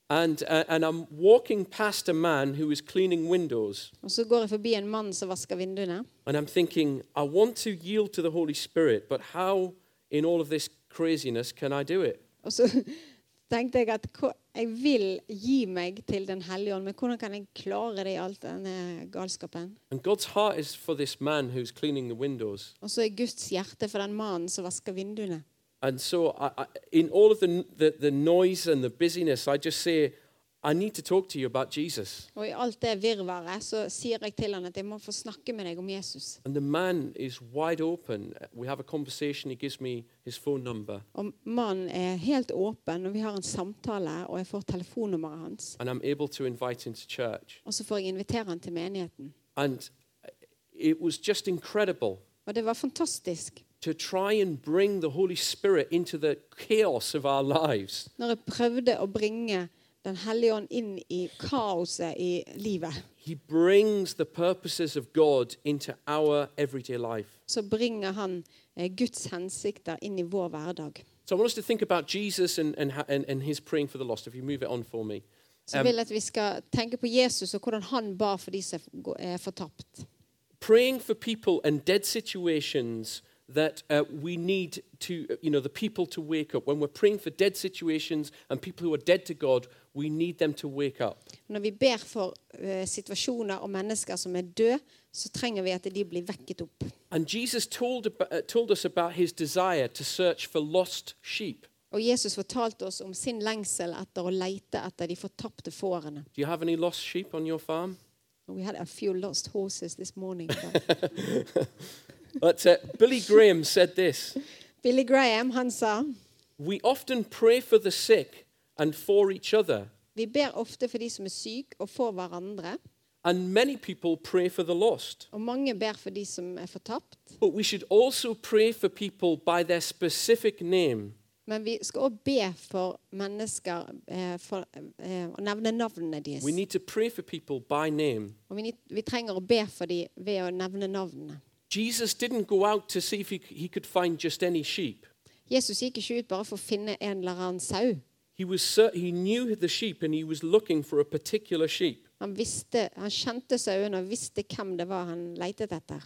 Speaker 1: And, uh, and I'm walking past a man who is cleaning windows.
Speaker 2: Og så går jeg forbi en mann som vasker vinduene.
Speaker 1: And I'm thinking, I want to yield to the Holy Spirit, but how in all of this craziness can I do it?
Speaker 2: Og så tenkte jeg at hva- jeg vil gi meg til Den hellige ånd, men hvordan kan jeg klare det i alt denne galskapen?
Speaker 1: And God's heart is for this man who's cleaning the windows.
Speaker 2: Og så er Guds hjerte for den mannen som vasker vinduene.
Speaker 1: And so, I, I, in all of the, the, the noise and the busyness, I just say, I need to talk to you about Jesus.
Speaker 2: Og i alt det virvaret så sier jeg til han at jeg må få snakke med deg om Jesus.
Speaker 1: And the man is wide open. We have a conversation. He gives me his phone number.
Speaker 2: Og mannen er helt åpen, og vi har en samtale, og jeg får telefonnummeret hans.
Speaker 1: And I'm able to invite him to church.
Speaker 2: Og så får jeg invitere han til menigheten.
Speaker 1: And it was just incredible
Speaker 2: Og det var fantastisk.
Speaker 1: to try and bring the Holy Spirit into the chaos of our lives.
Speaker 2: Når jeg prøvde å bringe Den hellige ånd inn i kaoset i livet,
Speaker 1: He brings the purposes of God into our everyday life.
Speaker 2: så bringer han eh, Guds hensikter inn i vår hverdag.
Speaker 1: So I want us to think about Jesus and, and, ho- and, and his praying for the lost. If you move it on for me.
Speaker 2: Så jeg vil at vi skal tenke på Jesus og hvordan han ba for de som gå- er fortapt.
Speaker 1: Praying for people and dead situations that uh, we need to, uh, you know, the people to wake up. When we're praying for dead situations and people who are dead to God, we need them to wake up.
Speaker 2: Når vi ber for eh, situasjoner og mennesker som er døde, så trenger vi at de blir vekket opp.
Speaker 1: And Jesus told, ab- uh, told us about his desire to search for lost sheep.
Speaker 2: Og Jesus fortalte oss om sin lengsel etter å leite etter de fortapte fårene.
Speaker 1: Do you have any lost sheep on your farm?
Speaker 2: We had a few lost horses this morning. but-
Speaker 1: But uh, Billy Graham said this
Speaker 2: Billy Graham han sa
Speaker 1: We often pray for the sick and for each other,
Speaker 2: vi ber ofte for de som er syke, og for hverandre.
Speaker 1: and many people pray for the lost.
Speaker 2: Og mange ber for de som er fortapt.
Speaker 1: But we should also pray for people by their specific name.
Speaker 2: Men vi skal òg be for mennesker eh, for, eh, og nevne navnene deres.
Speaker 1: We need to pray for people by name.
Speaker 2: Og vi, need, vi trenger å be for dem ved å nevne navnene.
Speaker 1: Jesus didn't go out to see if he, he could find just any sheep.
Speaker 2: Jesus gikk ikke ut bare for å finne en eller annen sau.
Speaker 1: He, was, cer- he knew the sheep and he was looking for a particular sheep.
Speaker 2: Han, visste, han kjente sauene og visste hvem det var han leitet etter.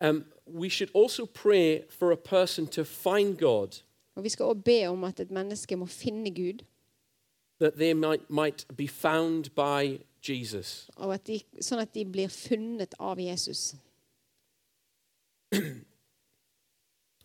Speaker 1: Um, we should also pray for a person to find God,
Speaker 2: Og Vi skal òg be om at et menneske må finne Gud,
Speaker 1: that they might, might be found by Jesus.
Speaker 2: og at de, sånn at de blir funnet av Jesus.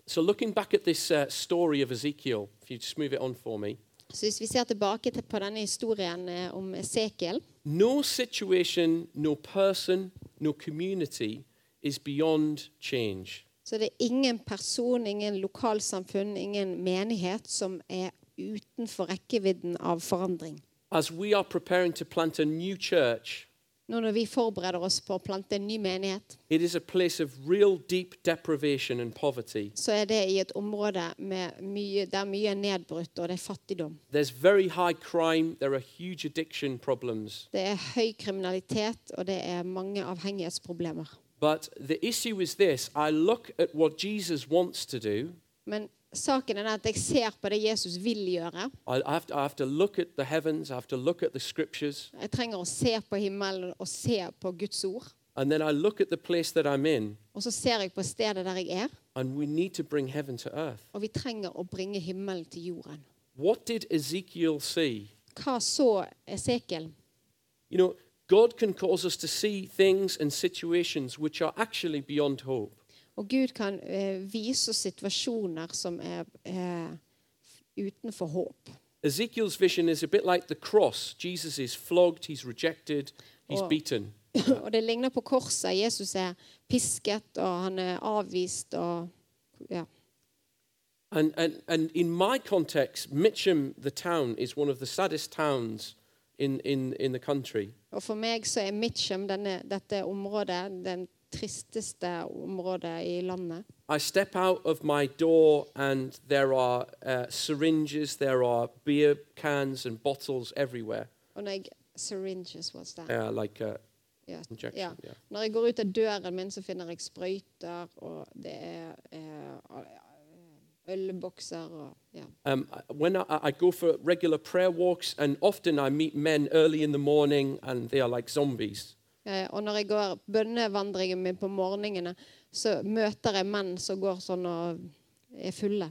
Speaker 1: So, looking back at this uh, story of Ezekiel, if you just move it on for me,
Speaker 2: Så Hvis vi ser tilbake til- på denne historien eh, om Esekiel,
Speaker 1: no situation, no person, no community is beyond change.
Speaker 2: så er det ingen person, ingen lokalsamfunn, ingen menighet som er utenfor rekkevidden av forandring.
Speaker 1: As we are preparing to plant a new church,
Speaker 2: Nå når vi forbereder oss på å plante en ny menighet,
Speaker 1: it is a place of real deep deprivation and poverty.
Speaker 2: så er det i et område med mye, der mye er nedbrutt, og det er fattigdom.
Speaker 1: There's very high crime, there are huge addiction problems.
Speaker 2: Det er høy kriminalitet, og det er mange avhengighetsproblemer.
Speaker 1: But the issue is this I look at what Jesus wants to do.
Speaker 2: Men saken er den at jeg ser på det Jesus vil gjøre.
Speaker 1: I I have, to, I have to look at the heavens, I have to look at the scriptures,
Speaker 2: Jeg trenger å se på himmelen og se på Guds ord.
Speaker 1: and then I look at the place that I'm in,
Speaker 2: Og så ser jeg på stedet der jeg er,
Speaker 1: and we need to bring heaven to earth.
Speaker 2: og vi trenger å bringe himmelen til jorden.
Speaker 1: What did Ezekiel see?
Speaker 2: Hva så Esekiel?
Speaker 1: You know, God can cause us to see things and situations which are actually beyond hope.
Speaker 2: Og Gud kan eh, vise oss situasjoner som er eh, utenfor håp.
Speaker 1: Ezekiel's vision is a bit like the cross. Jesus is flogged, he's rejected, he's
Speaker 2: Oh.
Speaker 1: beaten.
Speaker 2: Og det ligner på korset. Jesus er pisket, og han er avvist, og ja.
Speaker 1: And, and, and in my context, Mitcham, the town, is one of the saddest towns in, in, in the country.
Speaker 2: Og for meg så er Mitchum, denne, dette området, den tristeste området i landet.
Speaker 1: I step out of my door, and there are uh, syringes, there are beer cans and bottles everywhere.
Speaker 2: Og når jeg syringes, what's that?
Speaker 1: Uh, like, uh,
Speaker 2: Ja.
Speaker 1: injection,
Speaker 2: Ja.
Speaker 1: yeah.
Speaker 2: Når jeg går ut av døren min, så finner jeg sprøyter, og det er eh, ølbokser og ja.
Speaker 1: Um, I- when I, I go for regular prayer walks, and often I meet men early in the morning, and they are like zombies.
Speaker 2: Eh, Og når jeg går bønnevandringen min på morgenene, så møter jeg menn som går sånn og er fulle.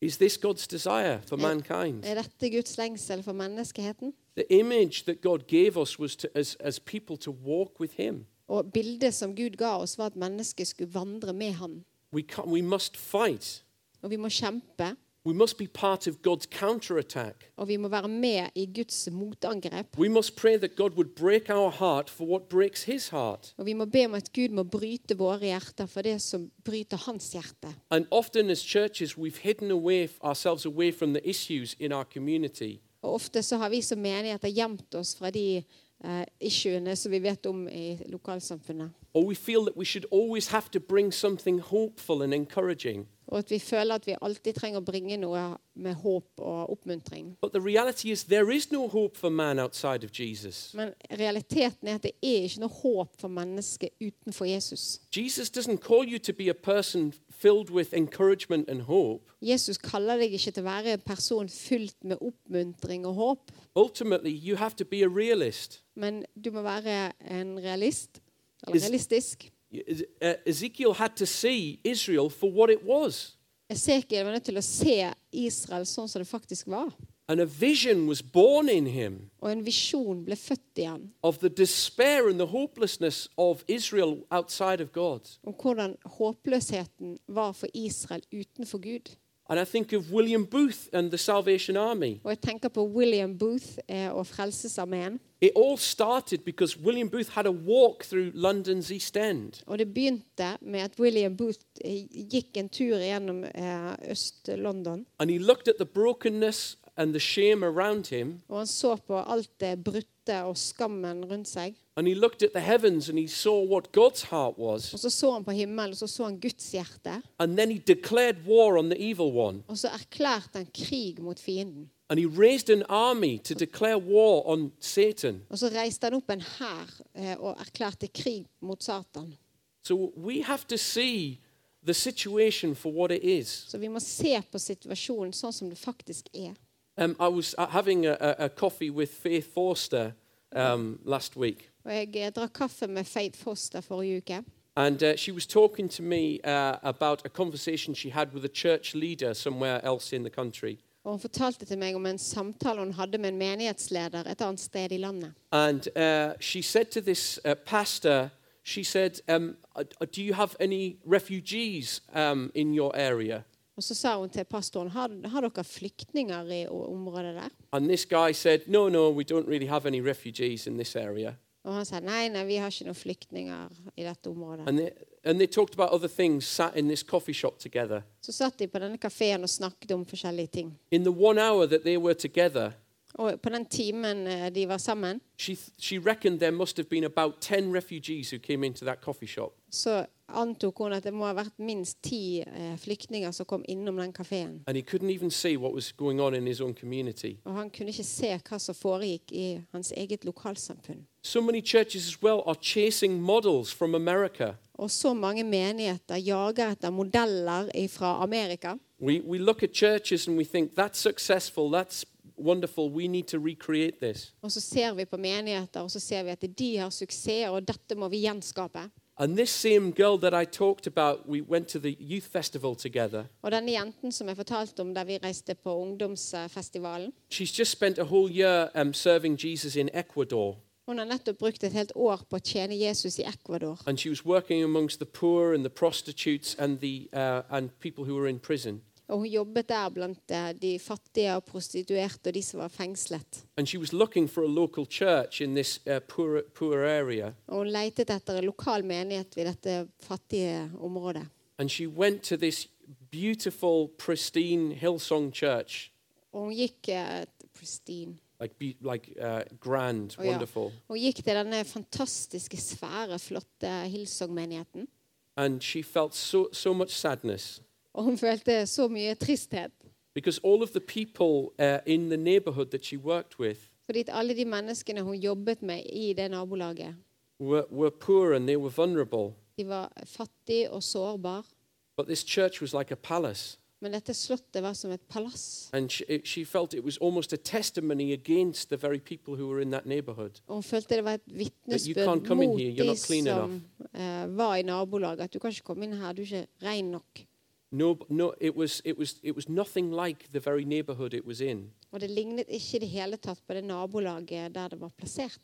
Speaker 1: Is this God's desire for
Speaker 2: Yeah.
Speaker 1: mankind?
Speaker 2: Er dette Guds lengsel for menneskeheten?
Speaker 1: The image that God gave us was to, as, as people to walk with Him.
Speaker 2: Og bildet som Gud ga oss, var at mennesket skulle vandre med ham.
Speaker 1: We, can't, we must fight.
Speaker 2: Og vi må kjempe,
Speaker 1: We must be part of God's counterattack.
Speaker 2: og vi må være med i Guds motangrep.
Speaker 1: We must pray that God would break our heart for what breaks His heart.
Speaker 2: Og vi må be om at Gud må bryte våre hjerter for det som bryter hans hjerte.
Speaker 1: And often, as churches, we've hidden away, ourselves away from the issues in our community.
Speaker 2: Og ofte så har vi som menigheter gjemt oss fra de eh, issuene som vi vet om i lokalsamfunnet.
Speaker 1: Or we feel that we should always have to bring something hopeful and encouraging.
Speaker 2: Og at vi føler at vi alltid trenger å bringe noe med håp og oppmuntring.
Speaker 1: But the reality is, there is no hope for man outside of Jesus.
Speaker 2: Men realiteten er at det er ikke noe håp for mennesket utenfor Jesus.
Speaker 1: Jesus doesn't call you to be a person filled with encouragement and hope.
Speaker 2: Jesus kaller deg ikke til å være en person fylt med oppmuntring og håp,
Speaker 1: Ultimately, you have to be a realist.
Speaker 2: men du må være en realist. Eller
Speaker 1: Is-
Speaker 2: realistisk.
Speaker 1: E- uh, Ezekiel had to see Israel for what it was.
Speaker 2: Esekiel var nødt til å se Israel sånn som det faktisk var.
Speaker 1: And a vision was born in him
Speaker 2: Og en visjon ble født i ham.
Speaker 1: of the despair and the hopelessness of Israel outside of God.
Speaker 2: om hvordan håpløsheten var for Israel utenfor Gud.
Speaker 1: And I think of William Booth and the Salvation Army.
Speaker 2: Og jeg tenker på William Booth eh, og Frelsesarmeen.
Speaker 1: It all started because William Booth had a walk through London's East End.
Speaker 2: Og det begynte med at William Booth eh, gikk en tur gjennom eh, Øst-London.
Speaker 1: And he looked at the brokenness and the shame around him.
Speaker 2: Og han så på alt det brutte og skammen rundt seg.
Speaker 1: And he looked at the heavens and he saw what God's heart was.
Speaker 2: Og så så han på himmelen, og så så han Guds hjerte.
Speaker 1: And then he declared war on the evil one.
Speaker 2: Og så erklærte han krig mot fienden.
Speaker 1: And he raised an army to declare war on Satan.
Speaker 2: Og så reiste han opp en hær eh, og erklærte krig mot Satan.
Speaker 1: So we have to see the situation for what it is.
Speaker 2: Så vi må se på situasjonen sånn som det faktisk er.
Speaker 1: Um, I was uh, having a, a, a coffee with Faith Forster um, last week,
Speaker 2: Og jeg eh, drakk kaffe med Faith Foster forrige uke.
Speaker 1: and uh, she was talking to me uh, about a conversation she had with a church leader somewhere else in the country.
Speaker 2: Og hun fortalte til meg om en samtale hun hadde med en menighetsleder et annet sted i landet.
Speaker 1: And uh, she said to this uh, pastor, she said, um, uh, Do you have any refugees um, in your area?
Speaker 2: Og så sa hun til pastoren har, har dere flyktninger i o- området der.
Speaker 1: And this guy said, No, no, we don't really have any refugees in this area.
Speaker 2: Og han sa nei, nei, vi har ikke noen flyktninger i dette området.
Speaker 1: And they, and they talked about other things, sat in this coffee shop together.
Speaker 2: Så satt de på denne kafeen og snakket om forskjellige ting.
Speaker 1: In the one hour that they were together,
Speaker 2: Og på den timen eh, de var sammen,
Speaker 1: she, th- she reckoned there must have been about 10 refugees who came into that coffee shop.
Speaker 2: så antok hun at det må ha vært minst ti eh, flyktninger som kom innom den kafeen.
Speaker 1: And he couldn't even see what was going on in his own community.
Speaker 2: Og han kunne ikke se hva som foregikk i hans eget lokalsamfunn.
Speaker 1: So many churches as well are chasing models from America.
Speaker 2: Og så mange menigheter jager etter modeller fra Amerika.
Speaker 1: We, we look at churches and we think, that's successful, that's wonderful, we need to recreate this.
Speaker 2: Og så ser vi på menigheter, og så ser vi at de har suksess, og dette må vi gjenskape.
Speaker 1: And this same girl that I talked about, we went to the youth festival together.
Speaker 2: Og denne jenten som jeg fortalte om der vi reiste på ungdomsfestivalen,
Speaker 1: She's just spent a whole year um, serving Jesus in Ecuador,
Speaker 2: hun har nettopp brukt et helt år på å tjene Jesus i Ecuador.
Speaker 1: and she was working amongst the poor and the prostitutes and, the, uh, and people who were in prison.
Speaker 2: Og hun jobbet der blant eh, de fattige og prostituerte og de som var fengslet.
Speaker 1: And she was looking for a local church in this uh, poor, poor area.
Speaker 2: Og hun leitet etter en lokal menighet ved dette fattige området.
Speaker 1: And she went to this beautiful, pristine Hillsong church,
Speaker 2: Og hun gikk eh, pristine.
Speaker 1: like, be, like uh, grand,
Speaker 2: Oh, yeah.
Speaker 1: wonderful.
Speaker 2: Hun gikk til denne fantastiske, svære, flotte Hillsong-menigheten.
Speaker 1: And she felt so, so much sadness
Speaker 2: Og hun følte så mye tristhet.
Speaker 1: because all of the people uh, in the neighborhood that she worked with
Speaker 2: Fordi at alle de menneskene hun jobbet med i det nabolaget,
Speaker 1: were, were poor and they were vulnerable.
Speaker 2: de var fattige og sårbare.
Speaker 1: But this church was like a palace.
Speaker 2: Men dette slottet var som et palass.
Speaker 1: And she, it- she felt it was almost a testimony against the very people who were in that neighborhood.
Speaker 2: Og hun følte det var et
Speaker 1: can't
Speaker 2: vitnesbyrd
Speaker 1: come in
Speaker 2: mot
Speaker 1: here, you're
Speaker 2: de
Speaker 1: not clean
Speaker 2: som eh, var i nabolaget. At du kan ikke komme inn her, du er ikke ren nok.
Speaker 1: No, no, it was, it, was, it was nothing like the very neighborhood it was in.
Speaker 2: Og det lignet ikke i det hele tatt på det nabolaget der det var plassert.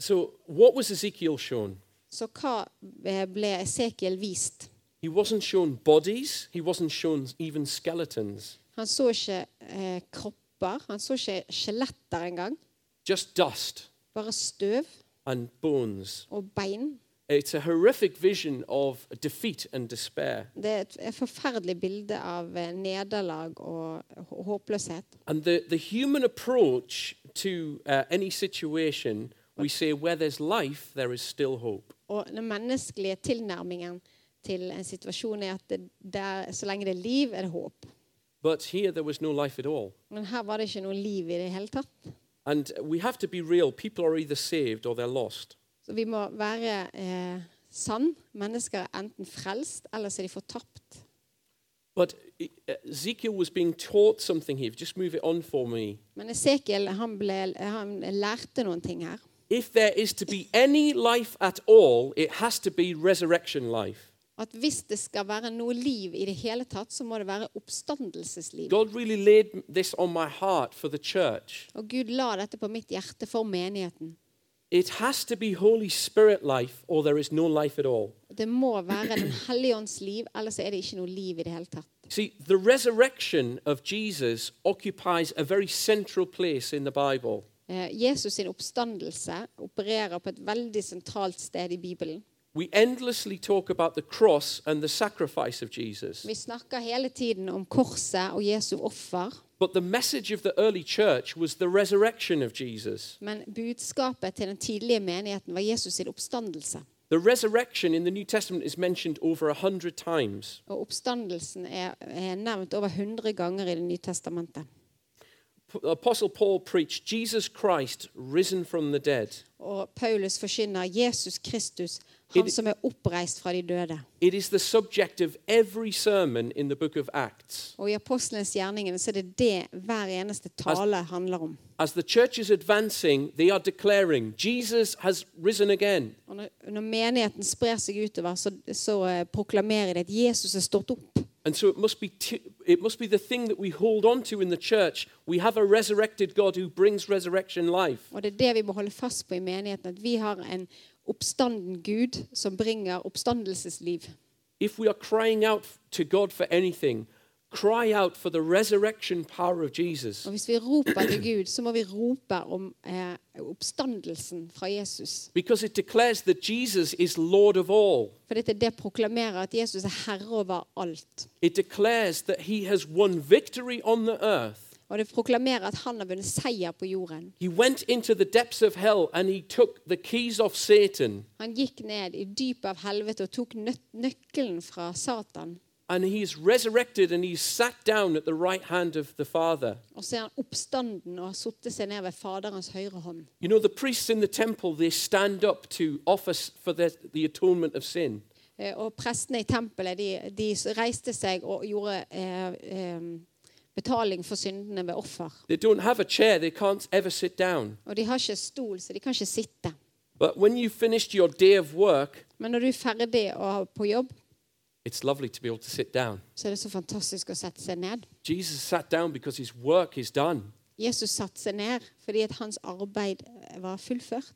Speaker 1: So, what was Ezekiel shown?
Speaker 2: Så hva eh, ble Esekiel vist?
Speaker 1: He wasn't shown bodies, he wasn't shown even skeletons,
Speaker 2: Han så ikke eh, kropper, han så ikke skjeletter engang.
Speaker 1: just dust
Speaker 2: Bare støv
Speaker 1: and bones.
Speaker 2: og bein.
Speaker 1: It's a horrific vision of defeat and despair.
Speaker 2: Det er et- et forferdelig bilde av eh, nederlag og hå- håpløshet.
Speaker 1: And the, the human approach to uh, any situation, we say where there's life, there is still hope.
Speaker 2: Og den menneskelige tilnærmingen til en situasjon er at det, der, så lenge det er liv, er det håp.
Speaker 1: But here there was no life at all.
Speaker 2: Men her var det ikke noe liv i det hele tatt.
Speaker 1: And we have to be real. People are either saved or they're lost.
Speaker 2: Så vi må være eh, sann. Mennesker er enten frelst, eller så er de fortapt.
Speaker 1: But uh, Ezekiel was being taught something here. Just move it on for me.
Speaker 2: Men Esekiel han ble, han lærte noen ting her.
Speaker 1: If there is to be any life at all, it has to be resurrection life.
Speaker 2: At hvis det skal være noe liv i det hele tatt, så må det være oppstandelsesliv.
Speaker 1: God really laid this on my heart for the church.
Speaker 2: Og Gud la dette på mitt hjerte for menigheten.
Speaker 1: It has to be Holy Spirit life, or there is no life at all.
Speaker 2: Det må være Den hellige ånds liv, ellers er det ikke noe liv i det hele tatt.
Speaker 1: See, the resurrection of Jesus occupies a very central place in the Bible.
Speaker 2: Eh, Jesus sin oppstandelse opererer på et veldig sentralt sted i Bibelen.
Speaker 1: We endlessly talk about the cross and the sacrifice of Jesus,
Speaker 2: Vi snakker hele tiden om korset og Jesu offer,
Speaker 1: but the message of the early church was the resurrection of Jesus.
Speaker 2: men budskapet til den tidlige menigheten var Jesus sin oppstandelse.
Speaker 1: The resurrection in the New Testament is mentioned over a hundred times.
Speaker 2: Og oppstandelsen er, er nevnt over 100 ganger i Det nye testamentet.
Speaker 1: P- Apostle Paul preached Jesus Christ risen from the dead.
Speaker 2: Og Paulus forkynner Jesus Kristus, han
Speaker 1: Er det-
Speaker 2: som er oppreist fra de døde.
Speaker 1: It is the subject of every sermon in the book of Acts.
Speaker 2: Og i apostlenes gjerninger så er det det hver eneste tale handler om.
Speaker 1: As the church is advancing, they are declaring, Jesus has risen again.
Speaker 2: Og når, når menigheten sprer seg utover, så, så eh, proklamerer de at Jesus er stått opp.
Speaker 1: And so it must be t- it must be the thing that we hold on to in the church. We have a resurrected God who brings resurrection life.
Speaker 2: Og det er det vi må holde fast på i menigheten, at vi har en oppstanden Gud som bringer oppstandelsesliv.
Speaker 1: If we are crying out f- to God for anything, cry out for the resurrection power of Jesus.
Speaker 2: Og hvis vi roper til Gud, så må vi rope om eh, oppstandelsen fra Jesus.
Speaker 1: Because it declares that Jesus is Lord of all.
Speaker 2: For dette det proklamerer at Jesus er herre over alt.
Speaker 1: It declares that he has won victory on the earth.
Speaker 2: Og det proklamerer at han har vunnet seier på jorden.
Speaker 1: He went into the depths of hell and he took the keys off Satan
Speaker 2: Han gikk ned i dypet av helvete og tok nø nøkkelen fra Satan.
Speaker 1: and he is resurrected and he's sat down at the right hand of the Father.
Speaker 2: Og så er han oppstanden og har sittet seg ned ved Faderens høyre hånd.
Speaker 1: You know, the priests in the temple, they stand up to offer s- for their, the atonement of sin.
Speaker 2: Eh, Og prestene i tempelet de, de s- reiste seg og gjorde eh, eh, betaling for syndene ved offer.
Speaker 1: They don't have a chair, they can't ever sit down.
Speaker 2: Og de har ikke stol, så de kan ikke sitte.
Speaker 1: But when you've finished your day of work,
Speaker 2: Men når du er ferdig og er på jobb,
Speaker 1: it's lovely to be able to sit down.
Speaker 2: så er det så fantastisk å sette seg ned.
Speaker 1: Jesus sat down because his work is done.
Speaker 2: Jesus satte seg ned fordi at hans arbeid var fullført.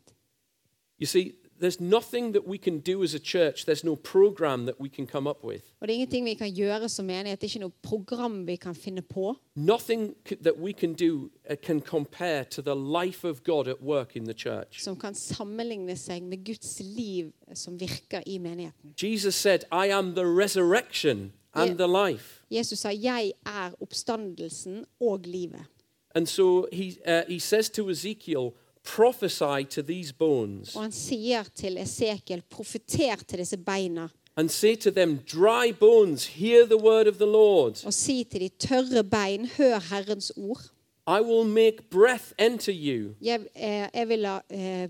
Speaker 1: You see, there's nothing that we can do as a church, there's no program that we can come up with.
Speaker 2: Og det er ingenting vi kan gjøre som menighet. Det er ikke noe program vi kan finne på.
Speaker 1: Nothing c- that we can do uh, can compare to the life of God at work in the church.
Speaker 2: som kan sammenligne seg med Guds liv som virker i menigheten.
Speaker 1: Jesus said, I am the resurrection
Speaker 2: Yeah.
Speaker 1: and the life.
Speaker 2: Jesus sa 'Jeg er oppstandelsen og livet'.
Speaker 1: And so he, uh, he says to Ezekiel, prophesy to these bones
Speaker 2: Og han sier til Esekiel 'Profeter til disse beina',
Speaker 1: and say to them, dry bones, hear the word of the Lord.
Speaker 2: og si til de tørre bein 'Hør Herrens ord'.
Speaker 1: I will make breath enter you,
Speaker 2: Jeg, eh, jeg vil la eh,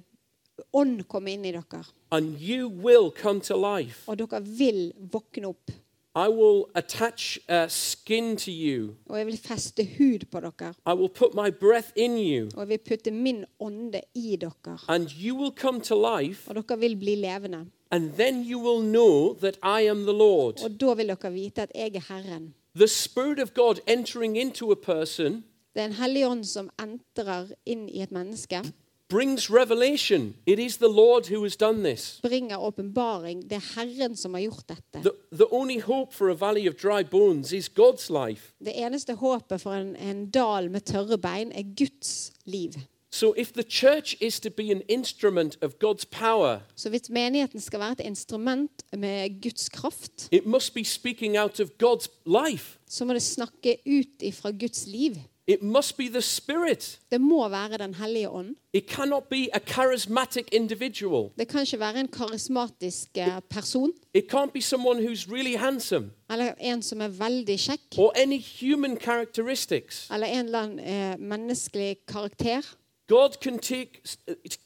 Speaker 2: ånd komme inn i dere,
Speaker 1: and you will come to life.
Speaker 2: og dere vil våkne opp.
Speaker 1: I will attach uh, skin to you.
Speaker 2: Og jeg vil feste hud på dere,
Speaker 1: I will put my breath in you,
Speaker 2: og jeg vil putte min ånde i dere.
Speaker 1: and you will come to life,
Speaker 2: Og dere vil bli levende.
Speaker 1: and then you will know that I am the Lord.
Speaker 2: Og da vil dere vite at jeg er Herren.
Speaker 1: The Spirit of God entering into a person
Speaker 2: Det er en hellig ånd som entrer inn i et menneske,
Speaker 1: brings revelation. It is the Lord who has done this.
Speaker 2: bringer åpenbaring. Det er Herren som har gjort dette.
Speaker 1: The, the only hope for a valley of dry bones is God's life.
Speaker 2: Det eneste håpet for en, en dal med tørre bein er Guds liv.
Speaker 1: So, if the church is to be an instrument of God's power,
Speaker 2: Så hvis menigheten skal være et instrument med Guds kraft,
Speaker 1: it must be speaking out of God's life.
Speaker 2: så må det snakke ut ifra Guds liv.
Speaker 1: It must be the Spirit.
Speaker 2: Det må være Den hellige ånd.
Speaker 1: It cannot be a charismatic individual.
Speaker 2: Det kan ikke være en karismatisk eh, person
Speaker 1: It can't be someone who's really handsome
Speaker 2: eller en som er veldig kjekk,
Speaker 1: or any human characteristics.
Speaker 2: eller en eller annen eh, menneskelig karakter.
Speaker 1: God can take,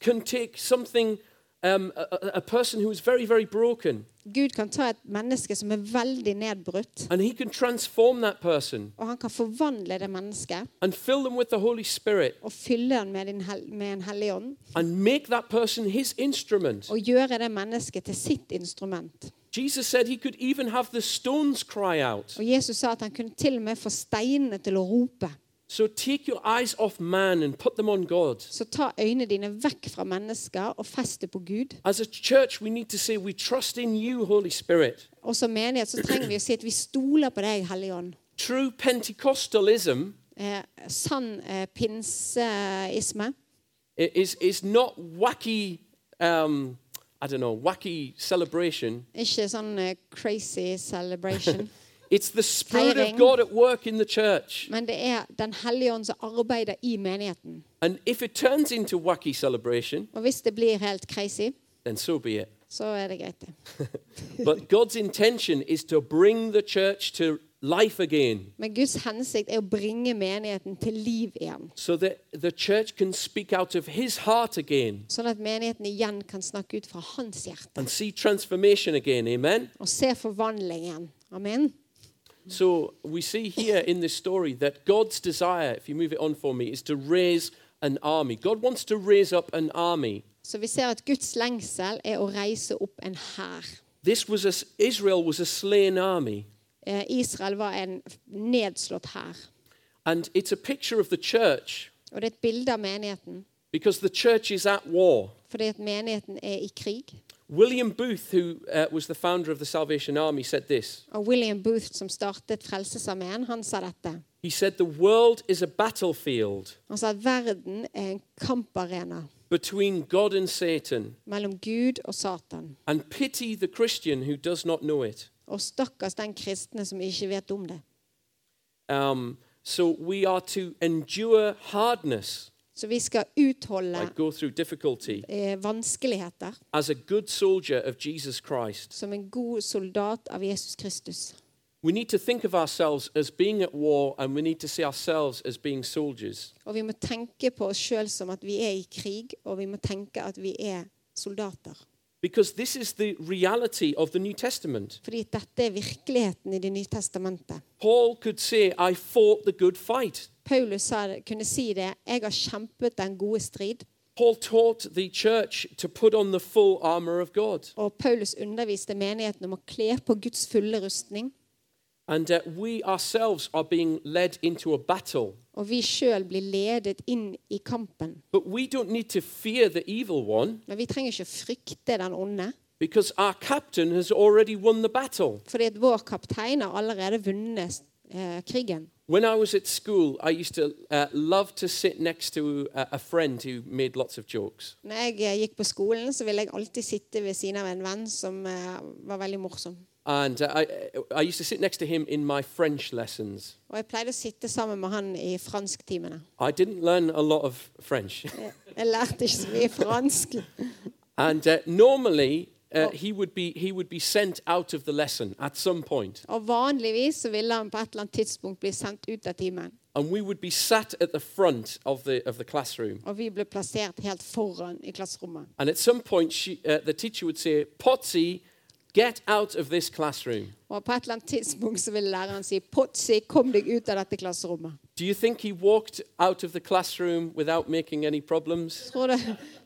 Speaker 1: can take something, um, a, a- a person who is very, very broken,
Speaker 2: Gud kan ta et menneske som er veldig nedbrutt,
Speaker 1: and He can transform that person
Speaker 2: og han kan forvandle det mennesket
Speaker 1: and fill them with the Holy Spirit.
Speaker 2: og fylle den med, din hel med en hellig ånd
Speaker 1: and make that person his instrument.
Speaker 2: og gjøre det mennesket til sitt instrument.
Speaker 1: Jesus said he could even have the stones cry out.
Speaker 2: Og Jesus sa at han kunne til og med få steinene til å rope.
Speaker 1: So take your eyes off man and put them on God.
Speaker 2: Så ta øynene dine vekk fra mennesker og fest det på Gud.
Speaker 1: As a church, we need to say, We trust in you, Holy Spirit.
Speaker 2: Og som menighet så trenger vi å si at vi stoler på deg, Hellige Ånd.
Speaker 1: True Pentecostalism
Speaker 2: Eh, sann eh, pinseisme
Speaker 1: i- is, is not wacky, um, I don't know, wacky celebration.
Speaker 2: Ikke sånn eh, crazy celebration.
Speaker 1: It's the Spirit of
Speaker 2: Firing.
Speaker 1: God at work in the church.
Speaker 2: Men det er Den hellige ånd som arbeider i menigheten.
Speaker 1: And if it turns into wacky celebration,
Speaker 2: Og hvis det blir helt crazy,
Speaker 1: then so be it.
Speaker 2: så er det greit, det.
Speaker 1: But God's intention is to bring the church to life again
Speaker 2: Men Guds hensikt er å bringe menigheten til liv igjen.
Speaker 1: so that the church can speak out of His heart again
Speaker 2: Sånn at menigheten igjen kan snakke ut fra hans hjerte
Speaker 1: and see transformation again. Amen?
Speaker 2: og se forvandling igjen. Amen.
Speaker 1: So we see here in this story that God's desire, if you move it on for me, is to raise an army. God wants to raise up an army.
Speaker 2: Så vi ser at Guds lengsel er å reise opp en hær.
Speaker 1: This was a, Israel was a slain army,
Speaker 2: Eh, Israel var en nedslått hær.
Speaker 1: and it's a picture of the church
Speaker 2: Og det er et bilde av menigheten,
Speaker 1: because the church is at war.
Speaker 2: fordi at menigheten er i krig.
Speaker 1: William Booth, who uh, was the founder of the Salvation Army, said this.
Speaker 2: Og William Booth, som startet Frelsesarmeen, han sa dette.
Speaker 1: He said, The world is a battlefield
Speaker 2: Han sa at verden er en kamparena
Speaker 1: between God and Satan,
Speaker 2: mellom Gud og Satan.
Speaker 1: and pity the Christian who does not know it.
Speaker 2: Og stakkars den kristne som ikke vet om det.
Speaker 1: Um, so we are to endure hardness,
Speaker 2: Så vi skal utholde
Speaker 1: like go through difficulty,
Speaker 2: eh, vanskeligheter
Speaker 1: as a good soldier of Jesus Christ.
Speaker 2: som en god soldat av Jesus Kristus.
Speaker 1: We need to think of ourselves as being at war, and we need to see ourselves as being soldiers.
Speaker 2: Og vi må tenke på oss sjøl som at vi er i krig, og vi må tenke at vi er soldater.
Speaker 1: Because this is the reality of the New Testament.
Speaker 2: Fordi dette er virkeligheten i Det nye testamentet.
Speaker 1: Paul could say, I fought the good fight.
Speaker 2: Paulus sa, det- kunne si det. 'Jeg har kjempet den gode strid'.
Speaker 1: Paul taught the church to put on the full armor of God.
Speaker 2: Og Paulus underviste menigheten om å kle på Guds fulle rustning.
Speaker 1: And uh, we ourselves are being led into a battle.
Speaker 2: Og vi sjøl blir ledet inn i kampen.
Speaker 1: But we don't need to fear the evil one
Speaker 2: Men vi trenger ikke frykte den onde,
Speaker 1: because our captain has already won the battle.
Speaker 2: fordi at vår kaptein har allerede vunnet eh, krigen.
Speaker 1: When I was at school, I used to uh, love to sit next to uh, a, a friend who made lots of jokes.
Speaker 2: Når jeg eh, gikk på skolen, så ville jeg alltid sitte ved siden av en venn som eh, var veldig morsom.
Speaker 1: And uh, I, I used to sit next to him in my French lessons.
Speaker 2: Og jeg pleide å sitte sammen med han i fransktimene.
Speaker 1: I didn't learn a lot of French.
Speaker 2: Jeg jeg lærte ikke så mye fransk.
Speaker 1: And uh, normally, uh, he, would be, he would be sent out of the lesson at some point.
Speaker 2: Og vanligvis så ville han på et eller annet tidspunkt bli sendt ut av timen.
Speaker 1: And we would be sat at the front of the, of the classroom.
Speaker 2: Og vi ble plassert helt foran i klasserommet.
Speaker 1: And at some point, she, uh, the teacher would say, Potsy, get out of this classroom.
Speaker 2: Og på et eller annet tidspunkt så ville læreren si Potsi, kom deg ut av dette klasserommet.
Speaker 1: Do you think he walked out of the classroom without making any problems?
Speaker 2: Tror, du,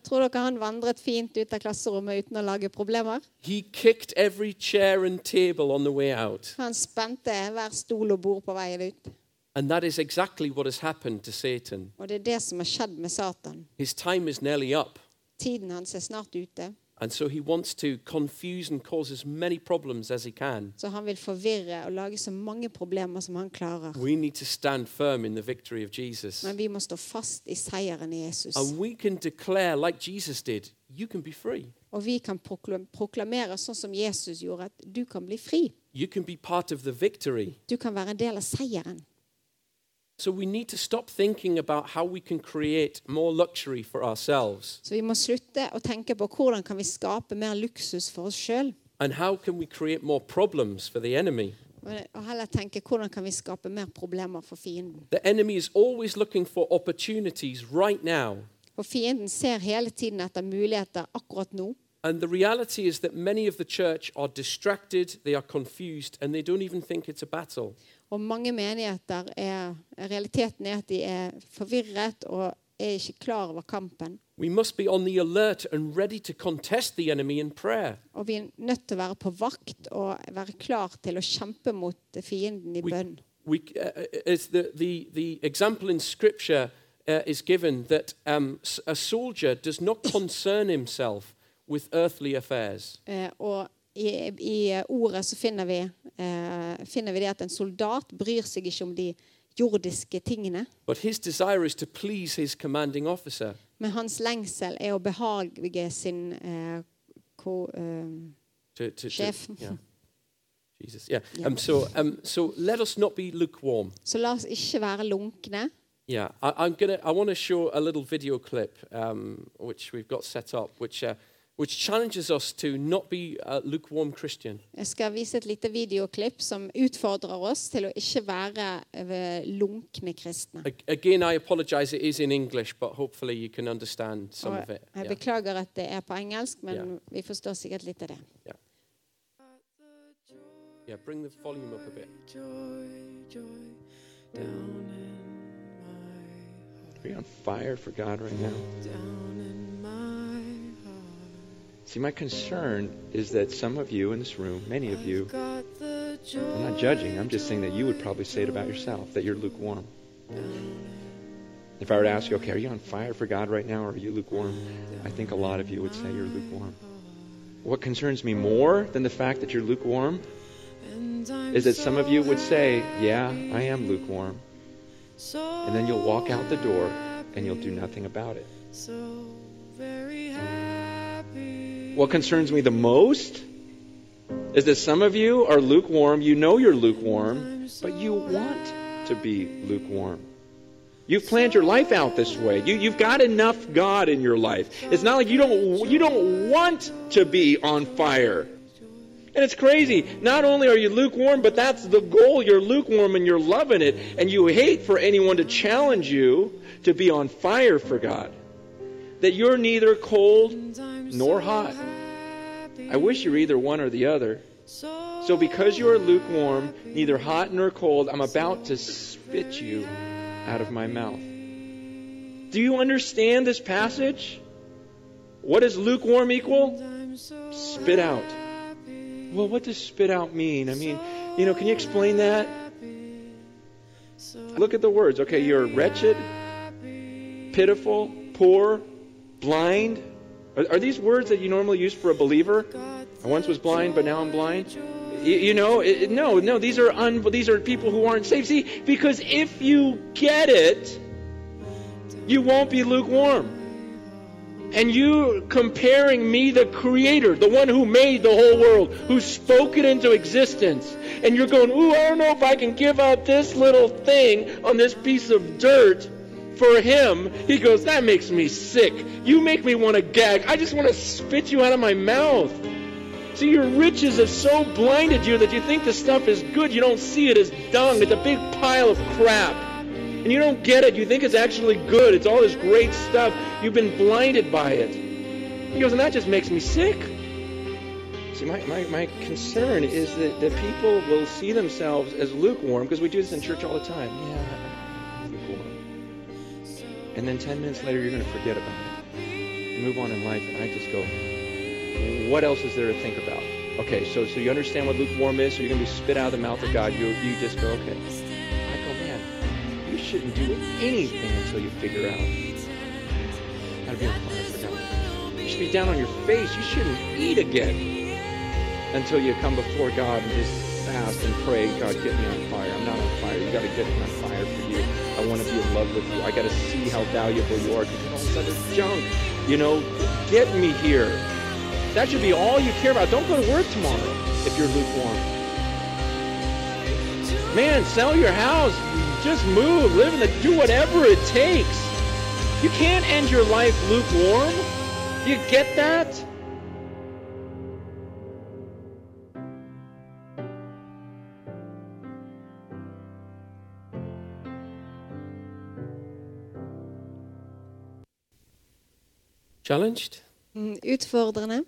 Speaker 2: tror dere han vandret fint ut av klasserommet uten å lage problemer?
Speaker 1: He kicked every chair and table on the way out.
Speaker 2: Han spente hver stol og bord på veien ut.
Speaker 1: And that is exactly what has happened to Satan.
Speaker 2: Og det er det som har skjedd med Satan.
Speaker 1: His time is nearly up.
Speaker 2: Tiden hans er snart ute,
Speaker 1: And so he wants to confuse and cause as many problems as he can.
Speaker 2: så han vil forvirre og lage så mange problemer som han klarer.
Speaker 1: We need to stand firm in the victory of Jesus.
Speaker 2: Men vi må stå fast i seieren i Jesus.
Speaker 1: And we can declare, like Jesus did, you can be free.
Speaker 2: Og vi kan prokla- proklamere sånn som Jesus gjorde, at du kan bli fri.
Speaker 1: You can be part of the victory.
Speaker 2: Du kan være en del av seieren.
Speaker 1: So we need to stop thinking about how we can create more luxury for ourselves
Speaker 2: Så vi må slutte å tenke på hvordan kan vi skape mer luksus for oss sjøl,
Speaker 1: and how can we create more problems for the enemy.
Speaker 2: og heller tenke hvordan kan vi skape mer problemer for fienden.
Speaker 1: The enemy is always looking for opportunities right now.
Speaker 2: For fienden ser hele tiden etter muligheter akkurat nå.
Speaker 1: And the reality is that many of the church are distracted, they are confused, and they don't even think it's a battle.
Speaker 2: Og mange menigheter er Realiteten er at de er forvirret og er ikke klar over kampen.
Speaker 1: We must be on the alert and ready to contest the enemy in prayer.
Speaker 2: Og vi er nødt til å være på vakt og være klar til å kjempe mot fienden i
Speaker 1: We,
Speaker 2: bønn.
Speaker 1: we, uh, it's the, the, the example in Scripture uh, is given that um, s- a soldier does not concern himself with earthly affairs.
Speaker 2: Eh, og i, i ordet så finner vi, eh, finner vi det at en soldat bryr seg ikke om de jordiske tingene,
Speaker 1: But his desire is to please his commanding officer.
Speaker 2: men hans lengsel er å behage sin eh, ko, eh,
Speaker 1: To, to, to-
Speaker 2: Chef.
Speaker 1: yeah. Jesus. Yeah.
Speaker 2: Yeah.
Speaker 1: Um, so, um, so let us not be lukewarm.
Speaker 2: Så la oss ikke være lunkne.
Speaker 1: Yeah. I, I'm gonna. I want to show a little video clip um, which we've got set up, which uh, which challenges us to not be a lukewarm Christian.
Speaker 2: Jeg skal vise et lite videoklipp som utfordrer oss til å ikke være eh, lunkne kristne.
Speaker 1: A- again, I apologise. It is in English, but hopefully you can understand some
Speaker 2: Og
Speaker 1: of it.
Speaker 2: jeg
Speaker 1: Yeah.
Speaker 2: beklager at det er på engelsk, men
Speaker 1: Ja.
Speaker 2: vi forstår sikkert litt av det.
Speaker 1: Yeah, bring the volume up a bit.
Speaker 3: Joy, joy, down in my,
Speaker 4: Are you on fire for God right now?
Speaker 3: down in my heart.
Speaker 4: See, my concern is that some of you in this room, many of you,
Speaker 3: I've got the joy.
Speaker 4: I'm not judging, I'm just saying that you would probably say it about yourself, that you're lukewarm. If I were to ask you, okay, are you on fire for God right now or are you lukewarm? I think a lot of you would say you're lukewarm. What concerns me more than the fact that you're lukewarm
Speaker 3: And I'm
Speaker 4: is that some of you would
Speaker 3: so
Speaker 4: say, yeah,
Speaker 3: happy,
Speaker 4: I am lukewarm.
Speaker 3: So
Speaker 4: And then you'll walk out the door and you'll do nothing about it.
Speaker 3: So very happy.
Speaker 4: What concerns me the most is that some of you are lukewarm. You know you're lukewarm, but you want to be lukewarm. You've planned your life out this way. You, you've got enough God in your life. It's not like you don't you don't want to be on fire. And it's crazy. Not only are you lukewarm, but that's the goal. You're lukewarm and you're loving it, and you hate for anyone to challenge you to be on fire for God. That you're neither cold
Speaker 3: And I'm
Speaker 4: nor
Speaker 3: so
Speaker 4: hot.
Speaker 3: happy,
Speaker 4: I wish you were either one or the other.
Speaker 3: So,
Speaker 4: So because you are lukewarm, neither hot nor cold, I'm about to spit you out of my mouth. Do you understand this passage? What does lukewarm equal?
Speaker 3: I'm so
Speaker 4: Spit out.
Speaker 3: happy.
Speaker 4: Well, what does spit out mean? I mean, you know, can you explain that?
Speaker 3: happy. So
Speaker 4: Look at the words. Okay, you're wretched,
Speaker 3: happy.
Speaker 4: pitiful, poor, blind. Are, are these words that you normally use for a believer?
Speaker 3: Got
Speaker 4: I once was blind, but now I'm blind.
Speaker 3: joy.
Speaker 4: You, you know, it, it- no, no, these are un, these are people who aren't saved. See, because if you get it, you won't be lukewarm. And you comparing me, the creator, the one who made the whole world, who spoke it into existence, and you're going, ooh, I don't know if I can give out this little thing on this piece of dirt for him. He goes, that makes me sick. You make me want to gag. I just want to spit you out of my mouth. See, your riches have so blinded you that you think the stuff is good. You don't see it as dung. It's a big pile of crap. And you don't get it. You think it's actually good. It's all this great stuff. You've been blinded by it. He goes, and that just makes me sick. See, my, my, my concern is that, that people will see themselves as lukewarm because we do this in church all the time. Yeah, I'm lukewarm. And then 10 minutes later, you're going to forget about it. You move on in life, and I just go, what else is there to think about? Okay, so so you understand what lukewarm is, so you're gonna be spit out of the mouth of God. You you just go, okay. I go, man, you shouldn't do anything until you figure out how to be on fire for God. You should be down on your face. You shouldn't eat again until you come before God and just fast and pray, God, get me on fire. I'm not on fire. You gotta get me on fire for you. I wanna be in love with you. I gotta see how valuable you are because all this other junk. You know, get me here. That should be all you care about. Don't go to work tomorrow if you're lukewarm. Man, sell your house. Just move. Live in the do whatever it takes. You can't end your life lukewarm. Do you get that?
Speaker 1: Challenged?
Speaker 2: Mm, Utfordrende.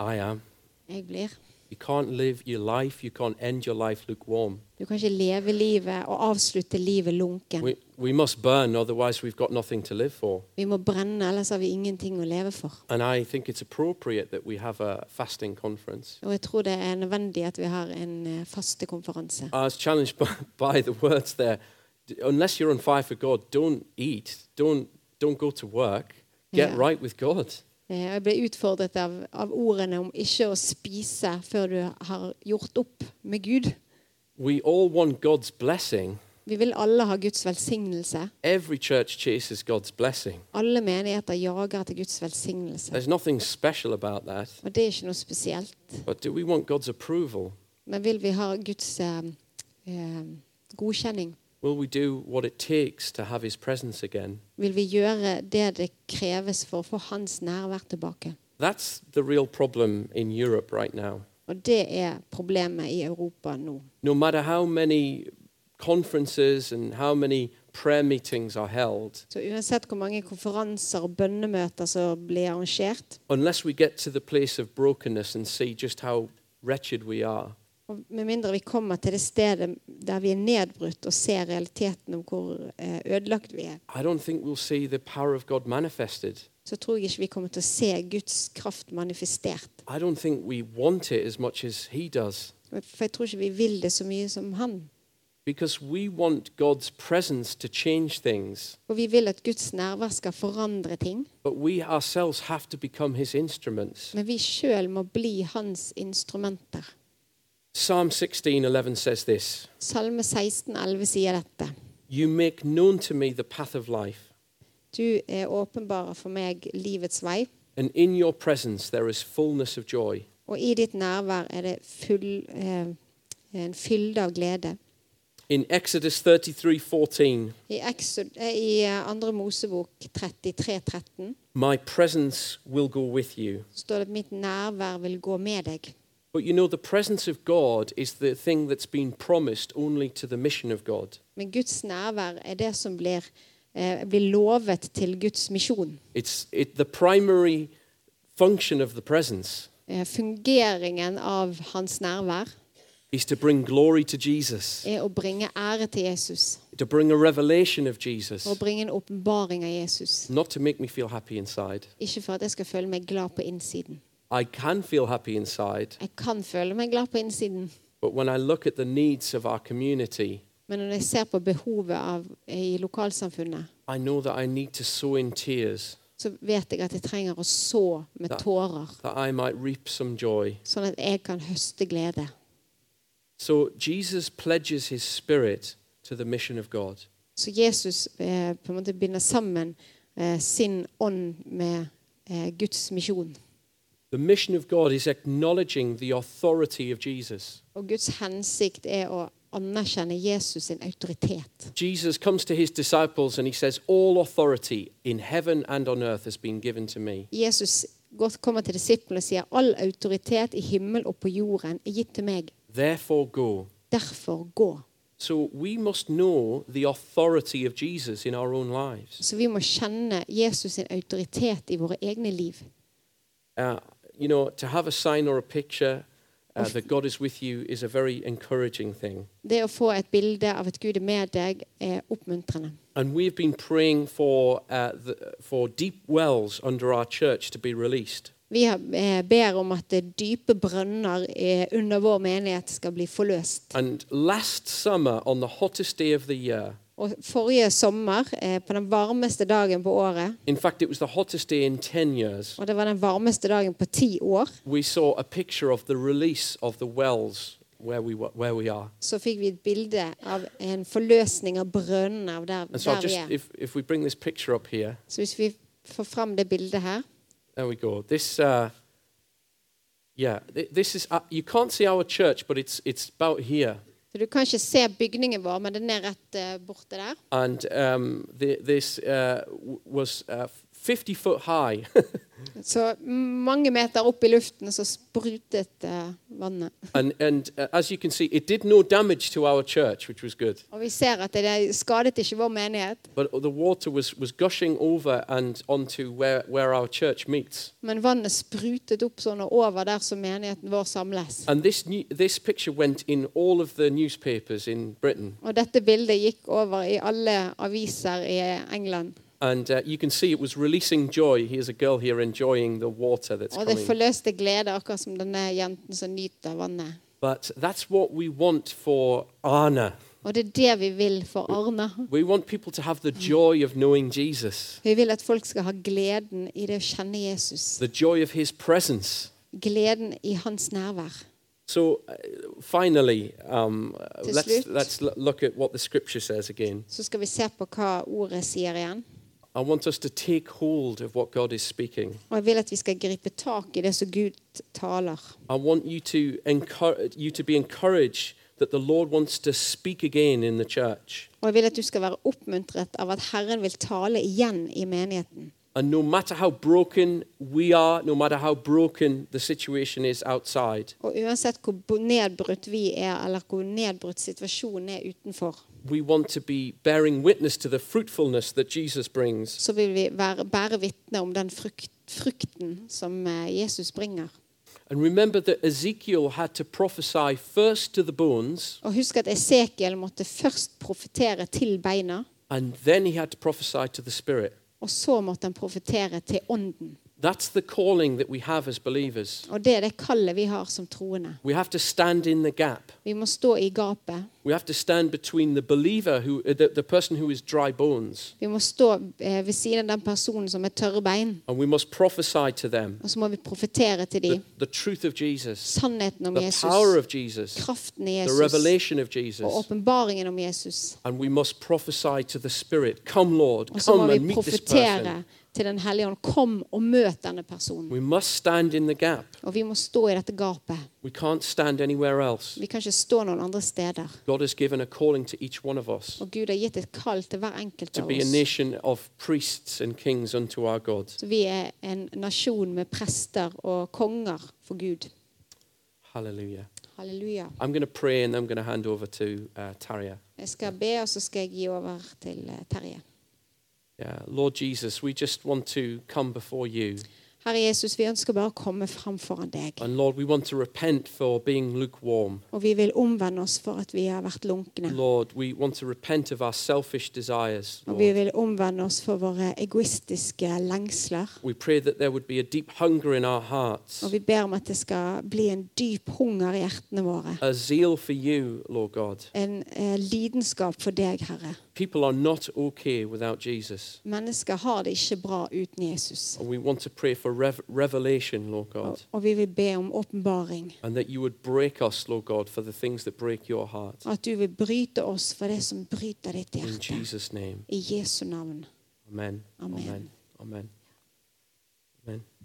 Speaker 1: I am.
Speaker 2: Jeg blir.
Speaker 1: You can't live your life, you can't end your life lukewarm.
Speaker 2: Du kan ikke leve livet og avslutte livet lunken.
Speaker 1: We, we must burn, otherwise, we've got nothing to live for.
Speaker 2: Vi må brenne, ellers har vi ingenting å leve for.
Speaker 1: And I think it's appropriate that we have a fasting conference.
Speaker 2: Og jeg tror det er nødvendig at vi har en eh, fastekonferanse.
Speaker 1: I was challenged by, by the words there. D- Unless you're on fire for God, don't eat, don't, don't go to work, get
Speaker 2: Yeah.
Speaker 1: right with God.
Speaker 2: Eh, og Jeg ble utfordret av, av ordene om ikke å spise før du har gjort opp med Gud.
Speaker 1: We all want God's blessing.
Speaker 2: Vi vil alle ha Guds velsignelse.
Speaker 1: Every church chases God's blessing.
Speaker 2: Alle menigheter jager etter Guds velsignelse.
Speaker 1: There's nothing special about that.
Speaker 2: Og det er ikke noe spesielt.
Speaker 1: But do we want God's approval?
Speaker 2: Men vil vi ha Guds eh, eh, godkjenning?
Speaker 1: Will we do what it takes to have His presence again?
Speaker 2: Vil vi gjøre det det kreves for å få hans nærvær tilbake?
Speaker 1: That's the real problem in Europe right now.
Speaker 2: Og det er problemet i Europa nå.
Speaker 1: No matter how many conferences and how many prayer meetings are held,
Speaker 2: Så uansett hvor mange konferanser og bønnemøter som blir arrangert,
Speaker 1: unless we get to the place of brokenness and see just how wretched we are,
Speaker 2: og med mindre vi kommer til det stedet der vi er nedbrutt og ser realiteten om hvor eh, ødelagt vi er,
Speaker 1: I don't think we'll see the power of God manifested.
Speaker 2: så tror jeg ikke vi kommer til å se Guds kraft manifestert.
Speaker 1: I don't think we want it as much as He does
Speaker 2: For jeg tror ikke vi vil det så mye som han.
Speaker 1: because we want God's presence to change things,
Speaker 2: Og vi vil at Guds nærvær skal forandre ting,
Speaker 1: but we ourselves have to become His instruments.
Speaker 2: men vi sjøl må bli hans instrumenter.
Speaker 1: Psalm 16:11 says this,
Speaker 2: Salme 16,11 sier dette.
Speaker 1: "You make known to me the path of life,
Speaker 2: Du er åpenbarer for meg livets vei,
Speaker 1: and in your presence there is fullness of joy.
Speaker 2: og i ditt nærvær er det full, eh, en fylde av glede.
Speaker 1: In Exodus 33:14,
Speaker 2: I, Exod, eh, I eh, andre Mosebok 33,13
Speaker 1: "My presence will go with you."
Speaker 2: står det at mitt nærvær vil gå med deg.
Speaker 1: But you know the presence of God is the thing that's been promised only to the mission of God.
Speaker 2: Men Guds nærvær er det som blir, eh, blir lovet til Guds misjon.
Speaker 1: It's it, the primary function of the presence
Speaker 2: Eh, fungeringen av hans nærvær
Speaker 1: is to bring glory to Jesus,
Speaker 2: er å bringe ære til Jesus.
Speaker 1: to bring a revelation of Jesus,
Speaker 2: Og å bringe en åpenbaring av Jesus.
Speaker 1: not to make me feel happy inside.
Speaker 2: Ikke for at jeg skal føle meg glad på innsiden.
Speaker 1: I can feel happy inside,
Speaker 2: Jeg kan føle meg glad på innsiden,
Speaker 1: But when I look at the needs of our community,
Speaker 2: men når jeg ser på behovet av, i lokalsamfunnet,
Speaker 1: I know that I need to sow in tears
Speaker 2: så vet jeg at jeg trenger å så med
Speaker 1: Da-
Speaker 2: tårer,
Speaker 1: that I might reap some joy.
Speaker 2: sånn at jeg kan høste glede.
Speaker 1: So Jesus pledges his spirit to the mission of God.
Speaker 2: Så Jesus eh, på en måte binder sammen eh, sin ånd med eh, Guds misjon.
Speaker 1: The mission of God is acknowledging the authority of Jesus.
Speaker 2: Og Guds hensikt er å anerkjenne Jesus sin autoritet.
Speaker 1: Jesus comes to his disciples and he says, All authority in heaven and on earth has been given to me.
Speaker 2: Jesus går- kommer til disiplene og sier all autoritet i himmel og på jorden er gitt til meg.
Speaker 1: Therefore go.
Speaker 2: Derfor gå.
Speaker 1: So we must know the authority of Jesus in our own lives.
Speaker 2: Så vi må kjenne Jesus sin autoritet i våre egne liv.
Speaker 1: uh, you know, to have a sign or a picture uh, that God is with you is a very encouraging thing.
Speaker 2: Det å få et bilde av at Gud er med deg, er oppmuntrende.
Speaker 1: And we've been praying for, uh, the, for deep wells under our church to be released.
Speaker 2: Vi har- eh, ber om at eh, dype brønner eh, under vår menighet skal bli forløst.
Speaker 1: And last summer, on the hottest day of the year,
Speaker 2: Og forrige sommer, eh, på den varmeste dagen på året,
Speaker 1: in fact, it was the hottest day in 10 years,
Speaker 2: og det var den varmeste dagen på ti år,
Speaker 1: we saw a picture of the release of the wells where we, wa- where we are.
Speaker 2: så fikk vi et bilde av en forløsning av brønnene av der,
Speaker 1: And so, I'll
Speaker 2: der vi
Speaker 1: just,
Speaker 2: er.
Speaker 1: if, if we bring this picture up here,
Speaker 2: Så hvis vi får fram det bildet her
Speaker 1: There we go. This, uh, yeah, thi- this is. Uh, you can't see our church, but it's it's about here,
Speaker 2: så Du kan ikke se bygningen vår, men den er rett eh, borte der.
Speaker 1: and um, the, this uh, w- was uh, 50 foot high,
Speaker 2: Så mange meter opp i luften så sprutet eh, vannet.
Speaker 1: And, and uh, as you can see, it did no damage to our church, which was good.
Speaker 2: Og vi ser at det skadet ikke vår menighet,
Speaker 1: But the water was, was gushing over and onto where, where our church meets.
Speaker 2: men vannet sprutet opp sånn og over der som menigheten vår samles.
Speaker 1: And this, new, this picture went in all of the newspapers in Britain.
Speaker 2: Og dette bildet gikk over i alle aviser i England.
Speaker 1: And uh, you can see it was releasing joy. Here's a girl here enjoying the water that's
Speaker 2: Og det
Speaker 1: coming.
Speaker 2: forløste glede, akkurat som denne jenten som nyter vannet.
Speaker 1: But that's what we want for Anna.
Speaker 2: Og det er det vi vil for Arne.
Speaker 1: We want people to have the joy of knowing Jesus,
Speaker 2: Vi vil at folk skal ha gleden i det å kjenne Jesus.
Speaker 1: the joy of his presence.
Speaker 2: Gleden i hans nærvær.
Speaker 1: So, uh, finally, um, uh,
Speaker 2: To
Speaker 1: let's,
Speaker 2: slut.
Speaker 1: let's l- look at what the scripture says again.
Speaker 2: Så skal vi se på hva ordet sier igjen.
Speaker 1: I want us to take hold of what God is speaking.
Speaker 2: Og jeg vil at vi skal gripe tak i det som Gud taler.
Speaker 1: I want you to, encourage, you to be encouraged that the Lord wants to speak again in the church.
Speaker 2: Og jeg vil at du skal være oppmuntret av at Herren vil tale igjen i menigheten.
Speaker 1: And no matter how broken we are, no matter how broken the situation is outside,
Speaker 2: Og uansett hvor bo- nedbrutt vi er, eller hvor nedbrutt situasjonen er utenfor,
Speaker 1: we want to be bearing witness to the fruitfulness that Jesus brings.
Speaker 2: så vil vi være, bære vitne om den frukt, frukten som eh, Jesus bringer.
Speaker 1: And remember that Ezekiel had to prophesy first to the bones,
Speaker 2: Og husk at Esekiel måtte først profetere til beina,
Speaker 1: and then he had to prophesy to the spirit.
Speaker 2: og så måtte han profetere til ånden.
Speaker 1: That's the calling that we have as believers.
Speaker 2: Og det er det kallet vi har som troende.
Speaker 1: We have to stand in the gap.
Speaker 2: Vi må stå i gapet.
Speaker 1: We have to stand between the believer, who, uh, the, the person who is dry bones,
Speaker 2: Vi må stå eh, ved siden av den personen som er tørre bein,
Speaker 1: and we must prophesy to them
Speaker 2: og så må vi profetere til
Speaker 1: the,
Speaker 2: dem
Speaker 1: the truth of Jesus,
Speaker 2: sannheten om
Speaker 1: the power
Speaker 2: Jesus,
Speaker 1: of Jesus,
Speaker 2: kraften i
Speaker 1: the
Speaker 2: Jesus
Speaker 1: revelation of
Speaker 2: og
Speaker 1: Jesus.
Speaker 2: åpenbaringen om Jesus.
Speaker 1: And we must prophesy to the Spirit, come, Lord,
Speaker 2: Og så må
Speaker 1: come and
Speaker 2: vi
Speaker 1: meet this person.
Speaker 2: profetere til Den hellige ånd. Kom og møt denne personen.
Speaker 1: We must stand in the gap.
Speaker 2: Og vi må stå i dette gapet.
Speaker 1: We can't stand anywhere else.
Speaker 2: Vi kan ikke stå noen andre steder.
Speaker 1: God has given a calling to each one of us
Speaker 2: Og Gud har gitt et kall til hver enkelt
Speaker 1: to
Speaker 2: av
Speaker 1: be a
Speaker 2: oss.
Speaker 1: nation of priests and kings unto our God.
Speaker 2: Så vi er en nasjon med prester og konger for Gud.
Speaker 1: Hallelujah.
Speaker 2: Halleluja.
Speaker 1: I'm going to pray and I'm going to hand over to uh, Tarja.
Speaker 2: Jeg skal be, og så skal jeg gi over til eh, Terje.
Speaker 1: Yeah. Lord Jesus, we just want to come before you.
Speaker 2: Herre Jesus, vi ønsker bare å komme fram foran deg.
Speaker 1: And Lord, we want to repent for being lukewarm.
Speaker 2: Og vi vil omvende oss for at vi har vært lunkne.
Speaker 1: Lord, we want to repent of our selfish desires.
Speaker 2: Og vi
Speaker 1: Lord.
Speaker 2: vil omvende oss for våre egoistiske lengsler.
Speaker 1: We pray that there would be a deep hunger in our hearts,
Speaker 2: Og vi ber om at det skal bli en dyp hunger i hjertene våre.
Speaker 1: a zeal for you, Lord God.
Speaker 2: En eh, lidenskap for deg, Herre.
Speaker 1: People are not okay without Jesus.
Speaker 2: Mennesker har det ikke bra uten Jesus.
Speaker 1: And we want to pray for rev- revelation, Lord
Speaker 2: Og,
Speaker 1: God,
Speaker 2: og vi vil be om åpenbaring.
Speaker 1: and that you would break us, Lord God, for the things that break your heart.
Speaker 2: At du vil bryte oss for det som bryter ditt
Speaker 1: In
Speaker 2: hjerte.
Speaker 1: Jesus' name.
Speaker 2: I Jesu navn.
Speaker 1: Amen.
Speaker 2: Amen.
Speaker 1: Amen. Amen. Amen.